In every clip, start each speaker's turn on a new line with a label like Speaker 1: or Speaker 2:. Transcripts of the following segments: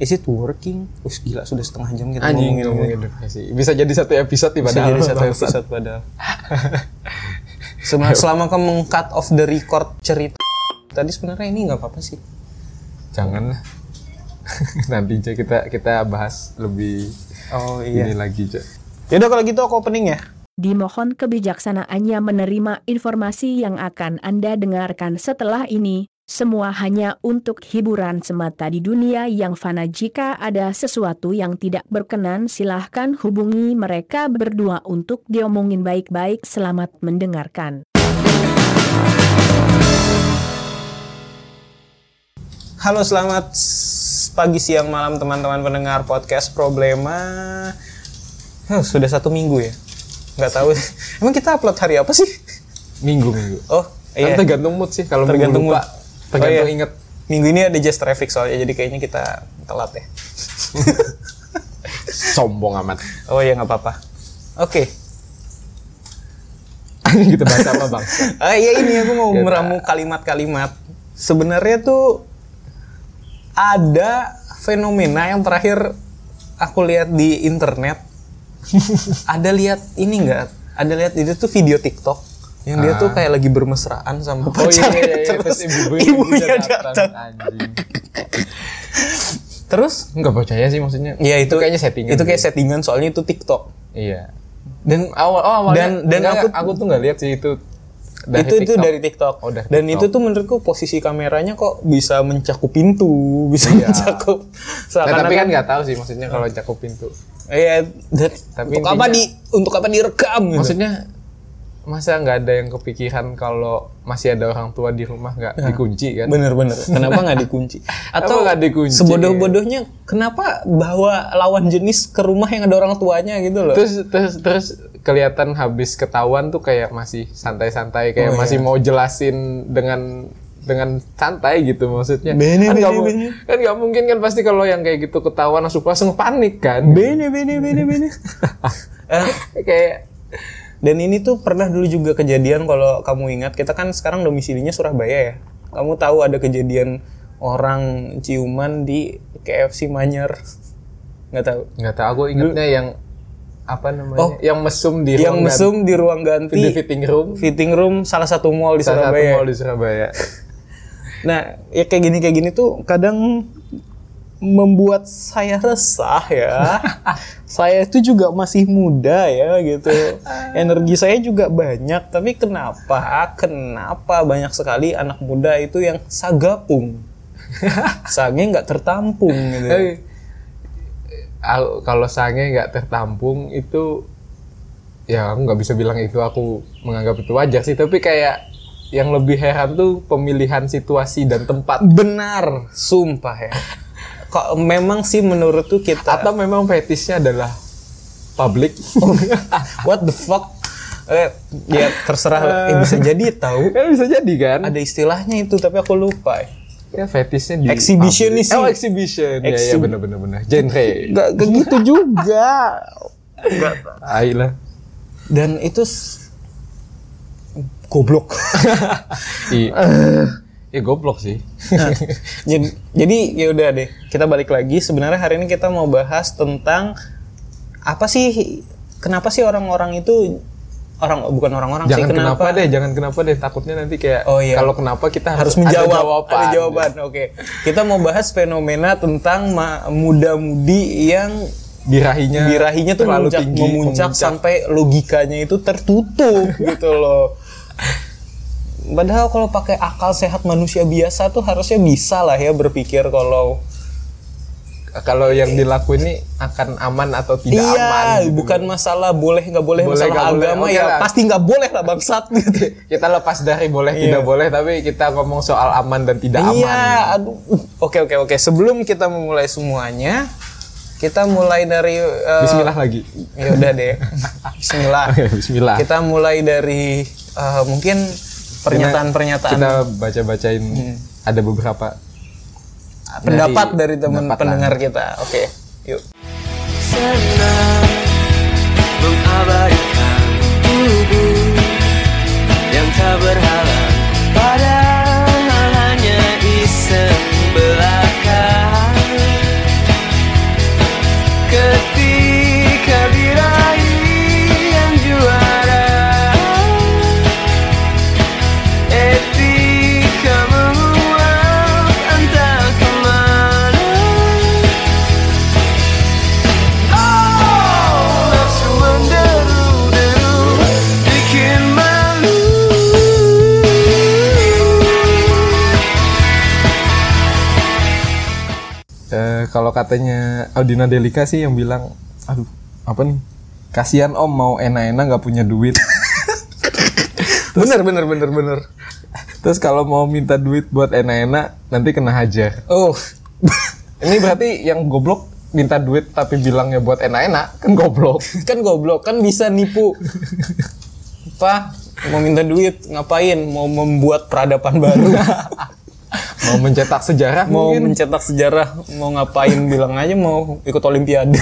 Speaker 1: Is it working? Us gila sudah setengah jam kita
Speaker 2: Anjing
Speaker 1: ngomongin
Speaker 2: iya. ngomongin
Speaker 1: ini.
Speaker 2: depresi. Bisa jadi satu episode
Speaker 1: Bisa
Speaker 2: padahal.
Speaker 1: jadi satu episode padahal. Sebenarnya selama kamu meng-cut off the record cerita tadi sebenarnya ini nggak apa-apa sih.
Speaker 2: Jangan lah. Nanti aja kita kita bahas lebih
Speaker 1: Oh
Speaker 2: ini lagi aja.
Speaker 1: Yaudah kalau gitu aku opening ya.
Speaker 3: Dimohon kebijaksanaannya menerima informasi yang akan Anda dengarkan setelah ini, semua hanya untuk hiburan semata di dunia yang fana. Jika ada sesuatu yang tidak berkenan silahkan hubungi mereka berdua untuk diomongin baik-baik. Selamat mendengarkan.
Speaker 1: Halo selamat s- pagi siang malam teman-teman pendengar podcast Problema. Huh, sudah satu minggu ya. Nggak tahu. Emang kita upload hari apa sih?
Speaker 2: Minggu minggu.
Speaker 1: Oh
Speaker 2: Kan
Speaker 1: iya.
Speaker 2: tergantung mood sih kalau minggu
Speaker 1: Tergantung
Speaker 2: lupa.
Speaker 1: mood.
Speaker 2: Tergantung
Speaker 1: Oh, iya.
Speaker 2: inget.
Speaker 1: Minggu ini ada just traffic soalnya jadi kayaknya kita telat ya.
Speaker 2: Sombong amat.
Speaker 1: Oh ya nggak apa-apa. Oke.
Speaker 2: Anjing kita bahas apa bang?
Speaker 1: Ah iya ini aku mau
Speaker 2: Kita-
Speaker 1: meramu kalimat-kalimat. Sebenarnya tuh ada fenomena yang terakhir aku lihat di internet. ada lihat ini enggak? Ada lihat itu tuh video TikTok yang dia tuh kayak lagi bermesraan sama
Speaker 2: Ah. Oh iya
Speaker 1: pacarnya
Speaker 2: iya, iya.
Speaker 1: terus,
Speaker 2: Terus
Speaker 1: ibunya, datang.
Speaker 2: Anjing.
Speaker 1: Terus
Speaker 2: Enggak percaya sih maksudnya.
Speaker 1: ya itu,
Speaker 2: kayaknya settingan.
Speaker 1: Itu kayak
Speaker 2: sih.
Speaker 1: settingan soalnya itu TikTok.
Speaker 2: Iya.
Speaker 1: Dan
Speaker 2: Awal oh awalnya
Speaker 1: Dan- dan
Speaker 2: enggak,
Speaker 1: aku-
Speaker 2: enggak, aku tuh nggak lihat sih itu dari
Speaker 1: itu itu
Speaker 2: TikTok.
Speaker 1: dari TikTok.
Speaker 2: Oh, dari
Speaker 1: Dan itu
Speaker 2: TikTok.
Speaker 1: tuh menurutku posisi kameranya kok bisa mencakup pintu, bisa
Speaker 2: Iya.
Speaker 1: mencakup.
Speaker 2: Nah, tapi kan
Speaker 1: Seakan-akan-
Speaker 2: nggak tahu sih maksudnya kalau cakup pintu.
Speaker 1: Iya, dan
Speaker 2: Tapi
Speaker 1: untuk apa
Speaker 2: intinya-
Speaker 1: di untuk apa direkam gitu.
Speaker 2: Maksudnya masa nggak ada yang kepikiran kalau masih ada orang tua di rumah nggak dikunci kan?
Speaker 1: Bener-bener. Kenapa nggak dikunci? Atau
Speaker 2: nggak dikunci?
Speaker 1: Sebodoh-bodohnya, kenapa bawa lawan jenis ke rumah yang ada orang tuanya gitu loh?
Speaker 2: Terus terus terus kelihatan habis ketahuan tuh kayak masih santai-santai
Speaker 1: Oh,
Speaker 2: kayak
Speaker 1: iya.
Speaker 2: masih mau jelasin dengan dengan santai gitu maksudnya.
Speaker 1: Bene,
Speaker 2: kan nggak
Speaker 1: bene,
Speaker 2: mu-
Speaker 1: bene.
Speaker 2: kan nggak mungkin kan pasti kalau yang kayak gitu ketahuan langsung langsung panik kan?
Speaker 1: Bene, bene, bene, bene. Eh,
Speaker 2: kayak
Speaker 1: Dan ini tuh pernah dulu juga kejadian kalau kamu ingat kita kan sekarang domisilinya Surabaya ya. Kamu tahu ada kejadian orang ciuman di KFC Manyer. Nggak tahu.
Speaker 2: nggak tahu aku ingetnya yang apa namanya?
Speaker 1: Oh.
Speaker 2: yang mesum
Speaker 1: Yang
Speaker 2: di ruang ganti-
Speaker 1: mesum di ruang
Speaker 2: di
Speaker 1: ganti
Speaker 2: fitting room
Speaker 1: fitting room salah satu mall di
Speaker 2: salah satu
Speaker 1: Surabaya.
Speaker 2: mall di Surabaya.
Speaker 1: Nah, ya kayak gini kayak gini tuh kadang membuat saya resah ya. saya itu juga masih muda ya gitu. Energi saya juga banyak, tapi kenapa? Kenapa banyak sekali anak muda itu yang sagapung? Sange nggak tertampung gitu.
Speaker 2: Tapi, aku- Eh, kalau sange nggak tertampung itu ya aku nggak bisa bilang itu aku menganggap itu wajar sih tapi kayak yang lebih heran tuh pemilihan situasi dan tempat
Speaker 1: Benar, sumpah ya. Kok memang sih menurut tuh kita
Speaker 2: atau memang fetisnya adalah publik
Speaker 1: what the fuck? Eh, ya terserah eh, bisa jadi tahu.
Speaker 2: kan bisa jadi kan
Speaker 1: Ada istilahnya itu tapi aku lupa.
Speaker 2: ya fetisnya di
Speaker 1: Exhibitionism.
Speaker 2: public. oh exhibition ya, ya
Speaker 1: Exhib-
Speaker 2: bener bener bener genre
Speaker 1: Gak gitu juga.
Speaker 2: Ayolah.
Speaker 1: Dan itu s- goblok.
Speaker 2: I- ya goblok sih
Speaker 1: Nah, jadi, jadi ya udah deh, kita balik lagi. Sebenarnya hari ini kita mau bahas tentang apa sih? Kenapa sih orang-orang itu orang bukan orang-orang sih
Speaker 2: jangan kenapa?
Speaker 1: kenapa?
Speaker 2: deh jangan kenapa deh takutnya nanti kayak
Speaker 1: Oh, iya.
Speaker 2: kalau kenapa kita
Speaker 1: harus
Speaker 2: harus,
Speaker 1: menjawab
Speaker 2: ada jawaban,
Speaker 1: Ada jawaban, Oke. Kita mau bahas fenomena tentang ma- muda-mudi yang
Speaker 2: birahinya
Speaker 1: birahinya tuh
Speaker 2: terlalu
Speaker 1: Iya. memuncak,
Speaker 2: tinggi
Speaker 1: memuncak sampai logikanya itu tertutup gitu loh. Padahal kalau pakai akal sehat manusia biasa tuh harusnya bisa lah ya berpikir kalau
Speaker 2: kalau yang dilakuin ini akan aman atau tidak aman
Speaker 1: iya
Speaker 2: gitu.
Speaker 1: bukan masalah boleh nggak boleh,
Speaker 2: Boleh,
Speaker 1: masalah
Speaker 2: nggak boleh,
Speaker 1: agama
Speaker 2: oke
Speaker 1: ya
Speaker 2: lah.
Speaker 1: pasti nggak boleh lah bangsat gitu.
Speaker 2: kita lepas dari boleh tidak boleh tapi kita ngomong soal aman dan tidak aman
Speaker 1: Iya, aduh. Oke oke oke. Sebelum kita memulai semuanya, kita mulai dari eh,
Speaker 2: Bismillah lagi
Speaker 1: Ya udah deh. Bismillah.
Speaker 2: Oke, Bismillah kita,
Speaker 1: Kita mulai dari eh, mungkin pernyataan-pernyataan
Speaker 2: baca-bacain
Speaker 1: Hmm.
Speaker 2: ada beberapa
Speaker 1: Ah, pendapat dari, teman
Speaker 2: pendapat
Speaker 1: pendengar kita. Oke, yuk.
Speaker 4: senang mengabaikan tubuh yang tak berhalang padahal hanya iseng belaka
Speaker 2: Eh, kalau katanya Audina Delika sih yang bilang, aduh apa nih? Kasihan om mau enak-enak nggak punya duit.
Speaker 1: bener bener bener bener
Speaker 2: Terus kalau mau minta duit buat enak-enak nanti kena hajar.
Speaker 1: oh
Speaker 2: Ini berarti yang goblok minta duit tapi bilangnya buat enak-enak kan goblok.
Speaker 1: kan goblok kan bisa nipu apa mau minta duit ngapain mau membuat peradaban baru
Speaker 2: Mau mencetak sejarah iya.
Speaker 1: mau
Speaker 2: mungkin.
Speaker 1: mencetak sejarah mau ngapain bilang aja mau ikut olimpiade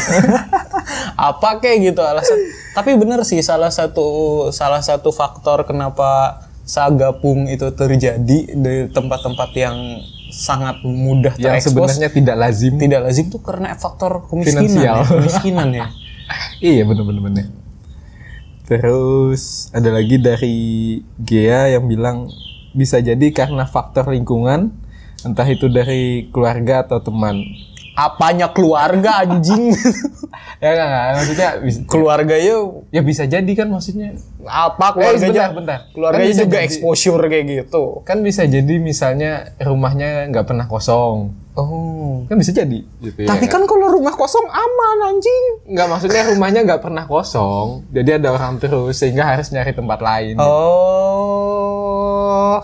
Speaker 1: apa kayak gitu alasan tapi bener sih salah satu salah satu faktor kenapa sagapung itu terjadi di tempat-tempat yang sangat mudah
Speaker 2: yang
Speaker 1: terekspos
Speaker 2: sebenarnya tidak lazim.
Speaker 1: tidak lazim tuh karena faktor kemiskinan ya,
Speaker 2: Finansial.
Speaker 1: kemiskinan ya
Speaker 2: Iya bener-bener bener. Terus ada lagi dari Gea yang bilang bisa jadi karena faktor lingkungan entah itu dari keluarga atau teman.
Speaker 1: apanya keluarga anjing
Speaker 2: Ya enggak, enggak. maksudnya bis-
Speaker 1: keluarganya
Speaker 2: ya bisa jadi kan maksudnya
Speaker 1: apa
Speaker 2: Eh, sebentar,
Speaker 1: keluarganya
Speaker 2: bentar.
Speaker 1: keluarganya
Speaker 2: Kan bisa
Speaker 1: juga
Speaker 2: jadi-
Speaker 1: exposure kayak gitu
Speaker 2: kan bisa jadi misalnya rumahnya nggak pernah kosong
Speaker 1: oh
Speaker 2: kan bisa jadi gitu ya
Speaker 1: tapi kan kalau rumah kosong aman anjing
Speaker 2: nggak maksudnya rumahnya nggak pernah kosong jadi ada orang terus sehingga harus nyari tempat lain
Speaker 1: oh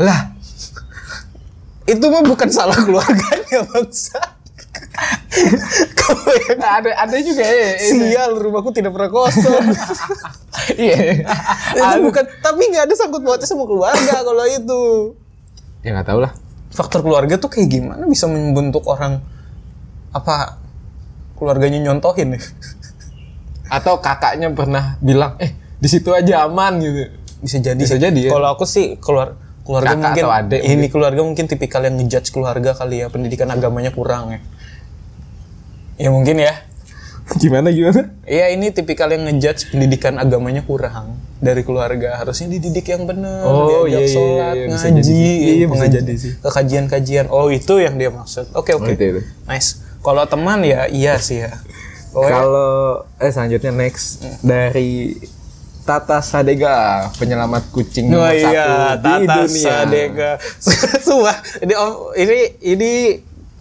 Speaker 2: lah
Speaker 1: itu mah bukan salah keluarganya bangsa Kau yang
Speaker 2: nah, ada ada juga ya
Speaker 1: Iya.
Speaker 2: itu.
Speaker 1: sial rumahku tidak pernah kosong
Speaker 2: iya
Speaker 1: itu bukan tapi nggak ada sangkut pautnya sama keluarga kalau itu
Speaker 2: ya nggak tahu lah
Speaker 1: faktor keluarga tuh kayak gimana bisa membentuk orang apa keluarganya nyontohin ya
Speaker 2: atau kakaknya pernah bilang eh di situ aja aman gitu
Speaker 1: bisa jadi
Speaker 2: Bisa
Speaker 1: sih.
Speaker 2: jadi, ya.
Speaker 1: kalau aku sih keluar keluarga
Speaker 2: Kakak
Speaker 1: mungkin
Speaker 2: atau adik
Speaker 1: ini keluarga mungkin tipikal yang ngejudge keluarga kali ya pendidikan agamanya kurang ya ya mungkin ya
Speaker 2: gimana gimana
Speaker 1: Iya ini tipikal yang ngejudge pendidikan agamanya kurang dari keluarga harusnya dididik yang benar
Speaker 2: Oh,
Speaker 1: diajak
Speaker 2: iya, iya,
Speaker 1: sholat
Speaker 2: iya, bisa jadi
Speaker 1: ngaji
Speaker 2: sih. Iya, iya, bisa
Speaker 1: pengaji-
Speaker 2: jadi sih.
Speaker 1: ke kajian-kajian oh itu yang dia maksud oke oke
Speaker 2: Oh, itu, itu.
Speaker 1: nice kalau teman ya iya sih ya
Speaker 2: Oh,
Speaker 1: Pokoknya-
Speaker 2: kalau eh selanjutnya next dari Tata Sadega penyelamat kucing
Speaker 1: Oh
Speaker 2: nomor
Speaker 1: iya,
Speaker 2: satu di
Speaker 1: Tata
Speaker 2: dunia
Speaker 1: Sadega. Sumpah, ini o- ini ini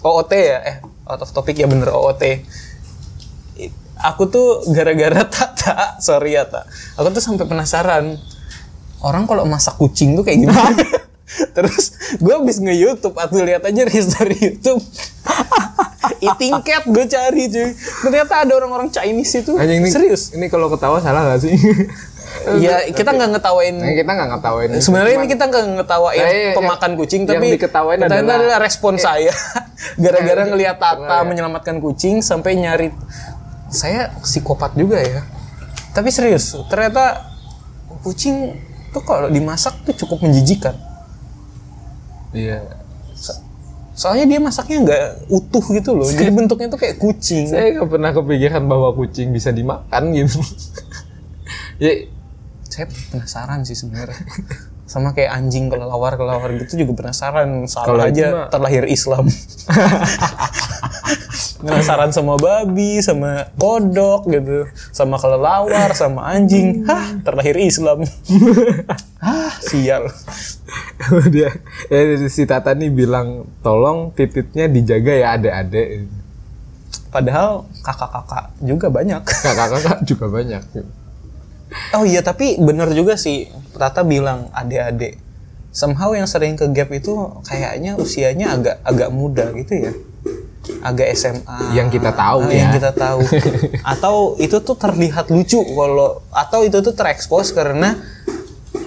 Speaker 1: OOT ya? Eh, out of topic ya bener OOT. I- Aku tuh gara-gara Tata, sorry ya Tata. Aku tuh sampai penasaran orang kalau masak kucing tuh kayak gimana? Terus gue abis nge-youtube Aku lihat aja history youtube Eating cat gue cari cuy Ternyata ada orang-orang Chinese itu
Speaker 2: Anjing, ini,
Speaker 1: Serius
Speaker 2: ini kalau ketawa salah gak sih
Speaker 1: Ya kita nggak ngetawain
Speaker 2: Nah, kita nggak ngetawain
Speaker 1: Eh, Sebenarnya ini
Speaker 2: Cuman
Speaker 1: kita nggak ngetawain
Speaker 2: Saya- yang-
Speaker 1: pemakan kucing,
Speaker 2: yang
Speaker 1: tapi
Speaker 2: diketawain
Speaker 1: pertanyaan
Speaker 2: adalah- Iya.
Speaker 1: respon saya gara-gara
Speaker 2: Eh,
Speaker 1: ngelihat Tata
Speaker 2: iya.
Speaker 1: menyelamatkan kucing sampai nyari saya psikopat juga ya. Tapi serius, ternyata kucing tuh kalau dimasak tuh cukup menjijikan.
Speaker 2: iya
Speaker 1: Soalnya dia masaknya nggak utuh gitu loh. Jadi bentuknya tuh kayak kucing.
Speaker 2: saya nggak pernah kepikiran bahwa kucing bisa dimakan gitu ya
Speaker 1: saya penasaran sih sebenarnya sama kayak anjing kelelawar kelelawar gitu juga penasaran
Speaker 2: Kalau
Speaker 1: salah
Speaker 2: itu
Speaker 1: aja
Speaker 2: mah-
Speaker 1: terlahir Islam penasaran sama babi sama kodok gitu sama kelelawar sama anjing hah terlahir Islam hah sial
Speaker 2: dia ya, si Tata nih bilang tolong tititnya dijaga ya adek-adek
Speaker 1: padahal kakak-kakak juga banyak
Speaker 2: kakak-kakak juga banyak
Speaker 1: oh iya tapi bener juga sih Tata bilang adik-adik somehow yang sering ke gap itu kayaknya usianya agak agak muda gitu ya agak SMA
Speaker 2: Yang kita tahu
Speaker 1: Ah, yang
Speaker 2: ya.
Speaker 1: kita tahu atau itu tuh terlihat lucu kalau atau itu tuh terekspos karena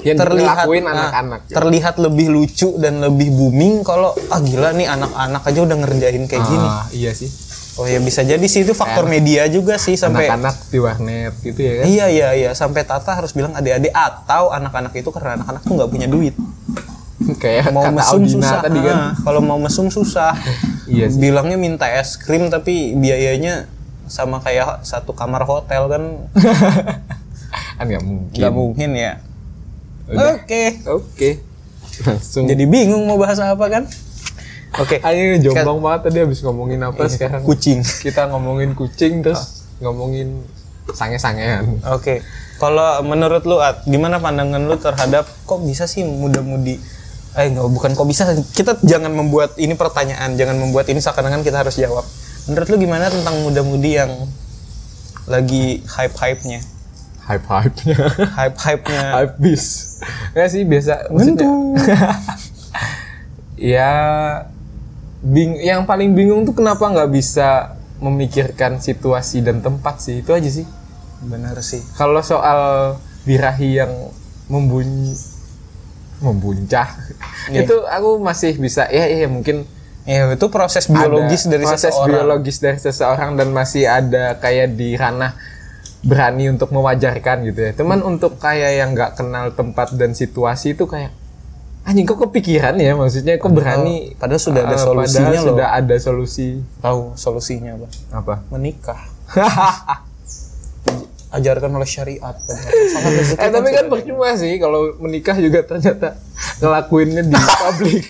Speaker 2: yang
Speaker 1: terlihat
Speaker 2: dilakuin
Speaker 1: ah,
Speaker 2: anak-anak
Speaker 1: terlihat lebih lucu dan lebih booming kalau ah gila nih anak-anak aja udah ngerjain kayak gini
Speaker 2: Ah, iya sih
Speaker 1: oh ya bisa jadi sih itu faktor media juga sih sampai
Speaker 2: anak-anak di warnet gitu ya kan
Speaker 1: Iya iya iya sampai Tata harus bilang adik-adik atau anak-anak itu karena anak-anak tuh nggak punya duit
Speaker 2: kayak
Speaker 1: mau
Speaker 2: kata
Speaker 1: mesum
Speaker 2: Audina
Speaker 1: susah
Speaker 2: tadi kan
Speaker 1: Ah, kalau mau mesum susah
Speaker 2: Iya sih.
Speaker 1: bilangnya minta es krim tapi biayanya sama kayak satu kamar hotel kan
Speaker 2: kan nggak mungkin
Speaker 1: nggak mungkin ya
Speaker 2: Udah.
Speaker 1: oke
Speaker 2: oke langsung
Speaker 1: jadi bingung mau bahas apa kan oke
Speaker 2: Ayo jombang banget tadi habis ngomongin apa
Speaker 1: Iya,
Speaker 2: sekarang
Speaker 1: kucing. Ah.
Speaker 2: kita ngomongin kucing terus ngomongin sange-sangean
Speaker 1: Oke, kalau menurut lu At, gimana pandangan lu terhadap kok bisa sih muda-mudi eh nggak bukan kok bisa kita jangan membuat ini pertanyaan jangan membuat ini seakan-akan kita harus jawab menurut lu gimana tentang muda-mudi yang lagi hype-hype-nya
Speaker 2: hype hype nya
Speaker 1: hype-hype-nya
Speaker 2: hype bis nggak sih biasa maksudnya- ya bing yang paling bingung tuh kenapa nggak bisa memikirkan situasi dan tempat sih itu aja sih
Speaker 1: bener sih
Speaker 2: kalau soal birahi yang membunyi membuncah
Speaker 1: Iya.
Speaker 2: itu aku masih bisa ya ya mungkin
Speaker 1: ya itu proses biologis
Speaker 2: ada
Speaker 1: dari
Speaker 2: proses
Speaker 1: seseorang
Speaker 2: biologis dari seseorang dan masih ada kayak di ranah berani untuk mewajarkan gitu ya. Cuman
Speaker 1: Hmm.
Speaker 2: untuk kayak yang nggak kenal tempat dan situasi itu kayak anjing kok kepikiran ya maksudnya kok berani
Speaker 1: Oh, padahal sudah ada
Speaker 2: eh,
Speaker 1: solusinya
Speaker 2: padahal
Speaker 1: loh.
Speaker 2: sudah ada solusi
Speaker 1: tahu solusinya apa
Speaker 2: apa?
Speaker 1: menikah ajarkan oleh syariat bener. sangat rezeki
Speaker 2: eh tapi kan
Speaker 1: sudah-
Speaker 2: percuma sih kalau menikah juga ternyata ngelakuinnya di publik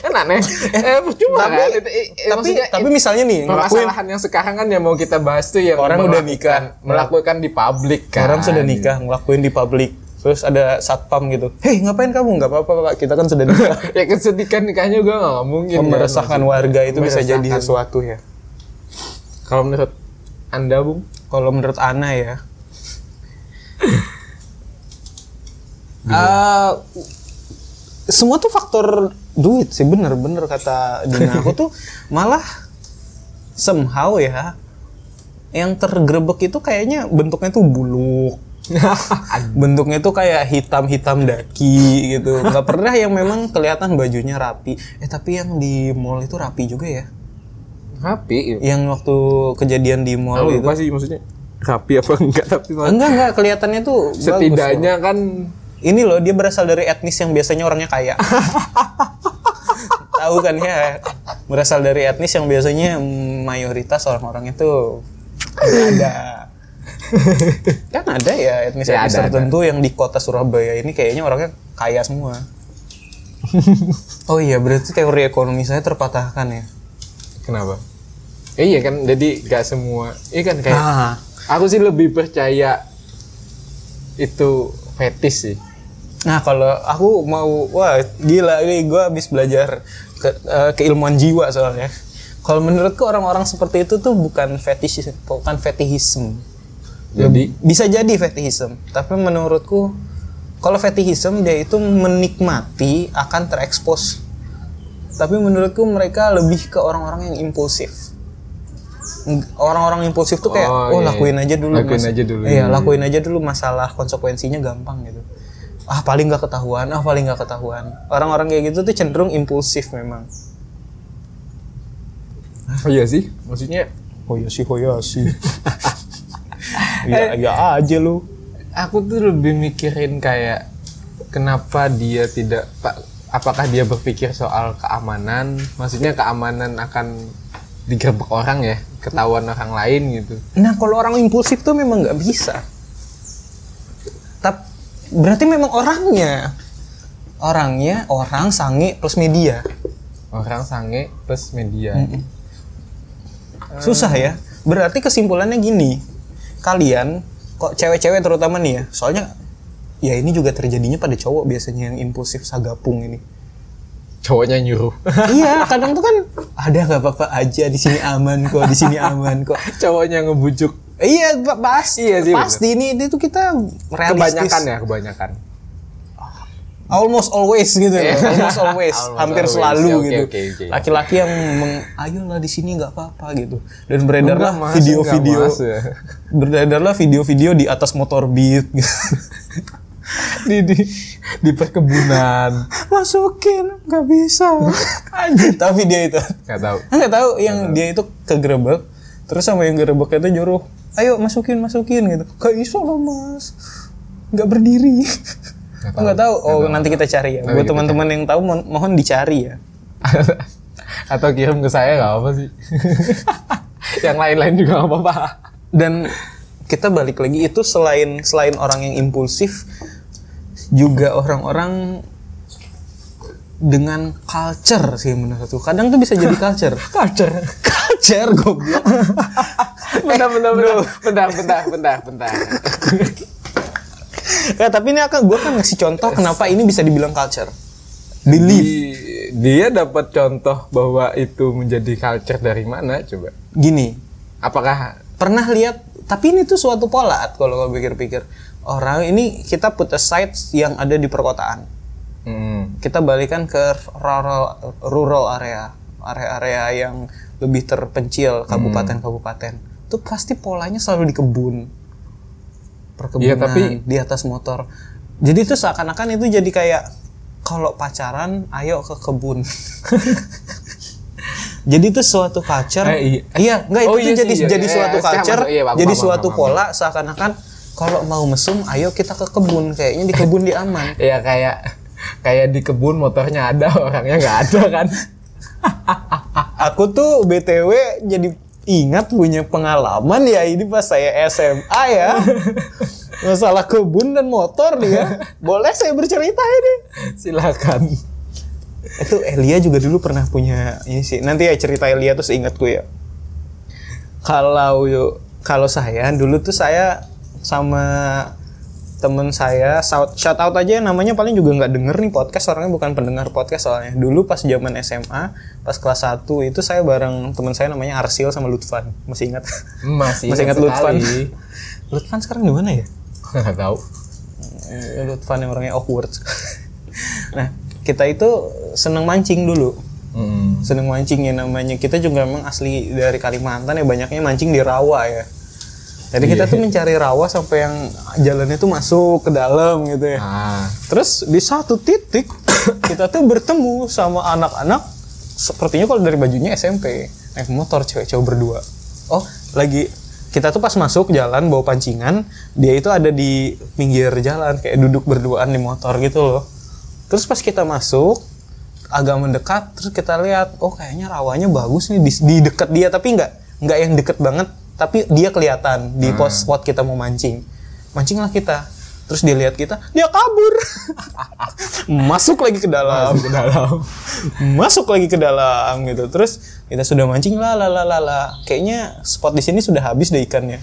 Speaker 2: kan aneh eh percuma
Speaker 1: Tapi-
Speaker 2: kan Itu- eh, eh,
Speaker 1: tapi
Speaker 2: maksudnya
Speaker 1: tapi misalnya nih ngelakuin
Speaker 2: permasalahan yang sekarang kan yang mau kita bahas tuh yang
Speaker 1: Orang udah
Speaker 2: melakukan-
Speaker 1: nikah.
Speaker 2: melakukan di publik kan
Speaker 1: orang sudah nikah ngelakuin di publik terus ada satpam gitu hei ngapain kamu nggak apa-apa pak kita kan sudah nikah
Speaker 2: ya kesedihan nikahnya gue nggak mungkin ya,
Speaker 1: meresahkan warga itu bisa
Speaker 2: Meresahkan.
Speaker 1: jadi sesuatu ya
Speaker 2: maksudnya. kalau menurut anda bung
Speaker 1: kalau menurut Ana ya Eh, semua tuh faktor duit sih bener-bener kata Dina aku tuh malah somehow ya yang tergerebek itu kayaknya bentuknya tuh buluk bentuknya tuh kayak hitam-hitam daki gitu nggak pernah yang memang kelihatan bajunya rapi eh tapi yang di mall itu rapi juga ya
Speaker 2: rapi ya.
Speaker 1: yang waktu kejadian di mall
Speaker 2: Aku
Speaker 1: Iya, itu
Speaker 2: lupa sih maksudnya rapi apa enggak tapi maksudnya
Speaker 1: enggak enggak kelihatannya tuh bagus loh.
Speaker 2: setidaknya kan
Speaker 1: ini loh dia berasal dari etnis yang biasanya orangnya kaya tahu kan ya berasal dari etnis yang biasanya mm, mayoritas orang-orang itu nggak ada kan ada ya etnis
Speaker 2: Ya,
Speaker 1: etnis
Speaker 2: ada,
Speaker 1: tertentu yang di kota Surabaya ini kayaknya orangnya kaya semua oh iya berarti teori ekonomi saya terpatahkan ya
Speaker 2: kenapa Eh, iya kan jadi nggak semua iya kan kayak
Speaker 1: Ah.
Speaker 2: aku sih lebih percaya itu fetish sih
Speaker 1: Nah kalau aku mau wah gila ini gue habis belajar ke, eh, keilmuan jiwa soalnya. Kalau menurutku orang-orang seperti itu tuh bukan fetish bukan fetishism.
Speaker 2: jadi
Speaker 1: Bisa jadi fetishism, tapi menurutku kalau fetishism dia itu menikmati akan terekspos. Tapi menurutku mereka lebih ke orang-orang yang impulsif. Orang-orang impulsif tuh kayak, oh,
Speaker 2: Oh, iya,
Speaker 1: lakuin
Speaker 2: iya.
Speaker 1: aja dulu.
Speaker 2: Lakuin aja dulu,
Speaker 1: Iya,
Speaker 2: iya.
Speaker 1: lakuin aja dulu masalah konsekuensinya gampang gitu ah paling nggak ketahuan ah paling nggak ketahuan orang-orang kayak gitu tuh cenderung impulsif memang
Speaker 2: oh, iya sih maksudnya
Speaker 1: hoyasi hoyasi ya ya aja lu
Speaker 2: aku tuh lebih mikirin kayak kenapa dia tidak pak apakah dia berpikir soal keamanan maksudnya keamanan akan digerebek orang ya ketahuan orang lain gitu
Speaker 1: nah kalau orang impulsif tuh memang nggak bisa tapi berarti memang orangnya orangnya orang sange plus media
Speaker 2: orang sange plus media
Speaker 1: susah ya berarti kesimpulannya gini kalian kok cewek-cewek terutama nih ya soalnya ya ini juga terjadinya pada cowok biasanya yang impulsif sagapung ini
Speaker 2: cowoknya nyuruh
Speaker 1: iya kadang tuh kan ada nggak apa-apa aja di sini aman kok di sini aman kok
Speaker 2: cowoknya ngebujuk
Speaker 1: iya pa- pasti
Speaker 2: Iya sih,
Speaker 1: pasti ini ini tuh kita realistis
Speaker 2: kebanyakan ya kebanyakan
Speaker 1: almost always gitu loh. almost always
Speaker 2: Almost
Speaker 1: hampir
Speaker 2: always.
Speaker 1: selalu
Speaker 2: Oke,
Speaker 1: gitu
Speaker 2: oke, oke.
Speaker 1: laki-laki yang meng, ayolah di sini nggak apa-apa gitu dan beredarlah
Speaker 2: Enggak, Mas,
Speaker 1: video-video
Speaker 2: enggak, Mas, ya.
Speaker 1: beredarlah video-video di atas motor beat
Speaker 2: di, di di perkebunan
Speaker 1: masukin nggak bisa tapi dia itu
Speaker 2: nggak tahu
Speaker 1: Enggak Kan tahu yang dia itu kegerebek terus sama yang gerebeknya itu nyuruh, "Ayo masukin, masukin" gitu. Kayak iso loh, Mas. Enggak berdiri.
Speaker 2: Nggak tahu.
Speaker 1: Enggak tahu. Oh, nanti kita cari ya.
Speaker 2: Nanti
Speaker 1: Buat
Speaker 2: kita
Speaker 1: teman-teman yang tahu mo- mohon dicari ya.
Speaker 2: atau kirim ke saya nggak apa sih yang lain-lain juga nggak apa-apa
Speaker 1: Dan kita balik lagi itu selain selain orang yang impulsif juga orang-orang dengan culture sih menurutku. Kadang tuh bisa jadi culture.
Speaker 2: kacer
Speaker 1: culture goblok.
Speaker 2: bentar, bentar, bentar, bentar, bentar, bentar, bentar.
Speaker 1: ya, tapi ini akan gue kan ngasih contoh kenapa ini bisa dibilang culture. Believe.
Speaker 2: Di- dia dapat contoh bahwa itu menjadi culture dari mana coba?
Speaker 1: Gini,
Speaker 2: Apakah
Speaker 1: pernah lihat tapi ini tuh suatu pola At, kalau gue pikir-pikir orang ini kita put aside yang ada di perkotaan
Speaker 2: hmm,
Speaker 1: kita balikan ke rural rural area area-area yang lebih
Speaker 2: Hmm.
Speaker 1: terpencil kabupaten-kabupaten itu pasti polanya selalu di kebun perkebunan
Speaker 2: Iya, tapi-
Speaker 1: di atas motor jadi itu seakan-akan itu jadi kayak kalau pacaran ayo ke kebun jadi itu suatu culture
Speaker 2: Eh, iya.
Speaker 1: iya enggak itu
Speaker 2: Oh,
Speaker 1: tuh
Speaker 2: iya sih,
Speaker 1: jadi
Speaker 2: iya.
Speaker 1: jadi
Speaker 2: Iya,
Speaker 1: suatu
Speaker 2: iya,
Speaker 1: culture
Speaker 2: sekarang, iya, aku
Speaker 1: jadi
Speaker 2: paham,
Speaker 1: suatu
Speaker 2: paham, paham.
Speaker 1: pola seakan-akan kalau mau mesum ayo kita ke kebun kayaknya di kebun di aman
Speaker 2: ya kayak kayak di kebun motornya ada orangnya nggak ada kan?
Speaker 1: Aku tuh BTW jadi ingat punya pengalaman ya ini pas saya SMA ya. Masalah kebun dan motor nih ya. Boleh saya bercerita ini.
Speaker 2: Silakan.
Speaker 1: Itu Elia juga dulu pernah punya ini sih. Nanti ya cerita Elia tuh seingatku ya. Kalau yuk kalau saya dulu tuh saya sama temen saya shout, shout out aja namanya paling juga nggak denger nih podcast orangnya bukan pendengar podcast soalnya dulu pas zaman SMA pas kelas 1 itu saya bareng temen saya namanya Arsil sama Lutfan masih ingat
Speaker 2: Masih,
Speaker 1: Masih ingat Lutfan?
Speaker 2: sekali.
Speaker 1: Lutfan sekarang di mana ya
Speaker 2: Nggak tahu.
Speaker 1: Eh, Lutfan yang orangnya awkward nah kita itu seneng mancing dulu
Speaker 2: Hmm.
Speaker 1: seneng mancing ya namanya kita juga memang asli dari Kalimantan ya banyaknya mancing di rawa ya jadi kita tuh mencari rawa sampai yang jalannya tuh masuk ke dalam gitu ya
Speaker 2: Ah,
Speaker 1: terus di satu titik kita tuh bertemu sama anak-anak sepertinya kalau dari bajunya SMP naik motor cewek-cewek berdua oh lagi kita tuh pas masuk jalan bawa pancingan dia itu ada di pinggir jalan kayak duduk berduaan di motor gitu loh terus pas kita masuk agak mendekat terus kita lihat oh kayaknya rawanya bagus nih di, di dekat dia tapi nggak nggak yang deket banget tapi dia kelihatan di pos spot kita mau mancing mancinglah kita terus dia lihat kita dia kabur masuk lagi ke dalam
Speaker 2: masuk ke dalam.
Speaker 1: masuk lagi ke dalam gitu terus kita sudah mancing lah lah lah lah, lah. kayaknya spot di sini sudah habis deh ikannya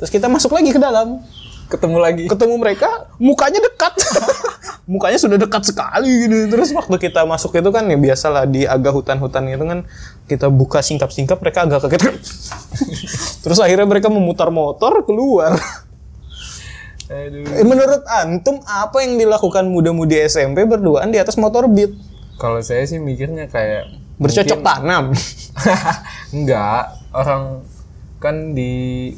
Speaker 1: terus kita masuk lagi ke dalam
Speaker 2: Ketemu lagi.
Speaker 1: ketemu mereka mukanya dekat mukanya sudah dekat sekali gitu terus waktu kita masuk itu kan ya biasalah di agak hutan-hutan itu kan kita buka singkap-singkap mereka agak kaget terus akhirnya mereka memutar motor keluar
Speaker 2: Aduh.
Speaker 1: Eh, menurut antum apa yang dilakukan muda-mudi SMP berduaan di atas motor beat
Speaker 2: Kalau saya sih mikirnya kayak
Speaker 1: bercocok
Speaker 2: mungkin-
Speaker 1: tanam
Speaker 2: Enggak, orang kan di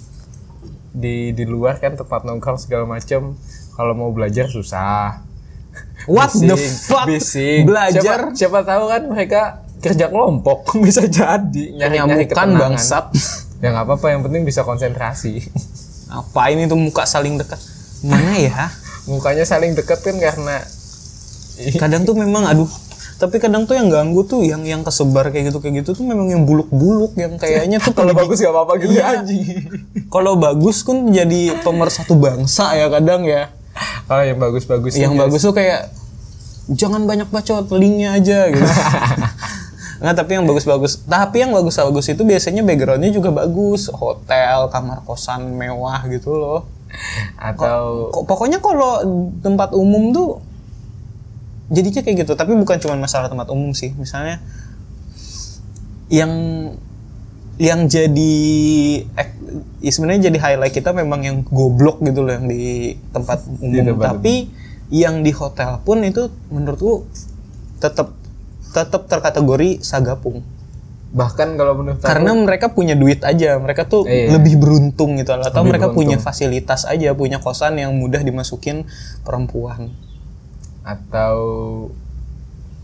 Speaker 2: di di luar kan tempat nongkrong segala macem kalau mau belajar susah.
Speaker 1: what the
Speaker 2: Bising,
Speaker 1: fuck
Speaker 2: bising.
Speaker 1: belajar
Speaker 2: Siapa, siapa tahu kan mereka kerja kelompok bisa jadi nyari-nyari
Speaker 1: kenyamukan
Speaker 2: ketenangan.
Speaker 1: bangsat
Speaker 2: Ya nggak apa-apa yang penting bisa konsentrasi.
Speaker 1: apa ini tuh muka saling dekat mana ya
Speaker 2: Mukanya saling deket kan karena
Speaker 1: kadang tuh memang aduh tapi kadang tuh yang ganggu tuh yang yang kesebar kayak gitu kayak gitu tuh memang yang buluk-buluk yang kayaknya tuh
Speaker 2: kalau
Speaker 1: pendidik- Iya.
Speaker 2: bagus gak apa-apa gitu anjing.
Speaker 1: kalau bagus kan jadi pemersatu bangsa ya kadang ya
Speaker 2: Kalau yang bagus-bagus ya,
Speaker 1: yang
Speaker 2: aja.
Speaker 1: bagus tuh kayak jangan banyak bacot linknya aja gitu Nah, tapi yang bagus-bagus. Tapi yang bagus-bagus itu biasanya backgroundnya juga bagus. Hotel, kamar kosan mewah gitu loh.
Speaker 2: atau
Speaker 1: Kok- pokoknya kalau tempat umum tuh jadinya kayak gitu tapi bukan cuma masalah tempat umum sih misalnya yang yang jadi ek- ya sebenarnya jadi highlight kita memang yang goblok gitu loh yang di tempat umum
Speaker 2: tempat
Speaker 1: tapi yang di hotel pun itu menurutku tetap tetap terkategori sagapung
Speaker 2: bahkan kalau menurut aku-
Speaker 1: karena mereka punya duit aja mereka tuh
Speaker 2: Iya.
Speaker 1: lebih beruntung gitu atau
Speaker 2: Lebih
Speaker 1: mereka punya
Speaker 2: beruntung.
Speaker 1: fasilitas aja punya kosan yang mudah dimasukin perempuan
Speaker 2: atau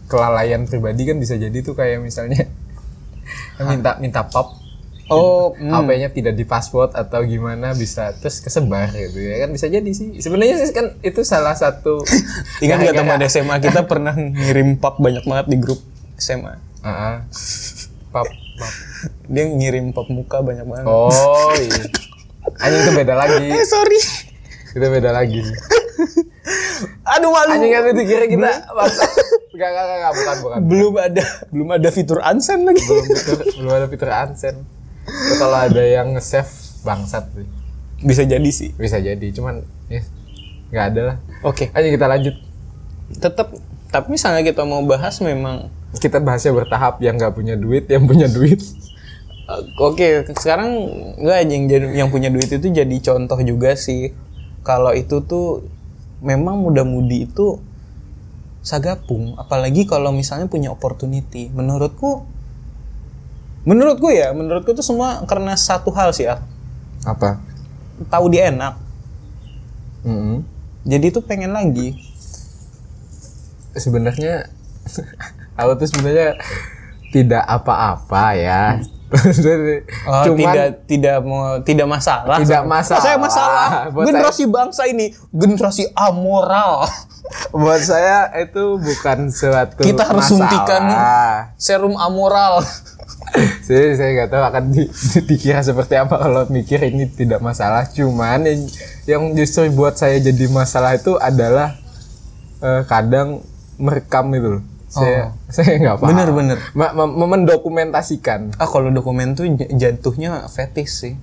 Speaker 2: kelalaian pribadi kan bisa jadi tuh kayak misalnya minta minta pop
Speaker 1: oh
Speaker 2: HP-nya tidak di password atau gimana bisa terus kesebar gitu ya kan bisa jadi sih sebenarnya sih kan itu salah satu
Speaker 1: ingat nggak teman
Speaker 2: Gara-gara-
Speaker 1: SMA kita pernah ngirim pap banyak banget di grup SMA
Speaker 2: Ah, ah. pop, pop.
Speaker 1: dia ngirim pap muka banyak banget
Speaker 2: oh iya anjing itu beda lagi
Speaker 1: Eh, sorry
Speaker 2: itu beda lagi sih.
Speaker 1: aduh malu
Speaker 2: anjing kan itu kira kita WhatsApp gak gak gak, gak bukan bukan
Speaker 1: belum ada belum ada fitur unsend lagi
Speaker 2: belum fitur, belum ada fitur unsend Itu kalau ada yang nge-save bangsat sih
Speaker 1: bisa jadi sih
Speaker 2: bisa jadi cuman ya nggak ada lah
Speaker 1: oke
Speaker 2: aja kita lanjut
Speaker 1: tetap Tapi misalnya kita mau bahas memang
Speaker 2: Kita bahasnya bertahap yang nggak punya duit, yang punya duit.
Speaker 1: eh, oke sekarang nggak yang jadi- yang punya duit itu jadi contoh juga sih. Kalau itu tuh memang muda-mudi itu sagapung, apalagi kalau misalnya punya opportunity. Menurutku menurutku ya, menurutku tuh semua karena satu hal sih, Al.
Speaker 2: Apa?
Speaker 1: tahu dia enak.
Speaker 2: Mm-mm.
Speaker 1: Jadi tuh pengen lagi.
Speaker 2: Sebenarnya aku tuh sebenarnya tidak apa-apa ya.
Speaker 1: Oh,
Speaker 2: Cuman
Speaker 1: tidak tidak mau tidak masalah. Saya-
Speaker 2: Tidak masalah.
Speaker 1: Saya masalah.
Speaker 2: Buat
Speaker 1: generasi bangsa ini generasi amoral.
Speaker 2: buat saya itu bukan suatu
Speaker 1: Kita harus
Speaker 2: masalah.
Speaker 1: suntikan serum amoral.
Speaker 2: Jadi saya nggak tahu akan di- di- dikira seperti apa kalau mikir ini tidak masalah. Cuman yang, yang justru buat saya jadi masalah itu adalah eh, kadang merekam itu loh. Saya saya nggak paham.
Speaker 1: Oh. Bener, bener.
Speaker 2: Ma- ma- ma- mendokumentasikan
Speaker 1: Ah kalau dokumen tuh j- jatuhnya fetish sih.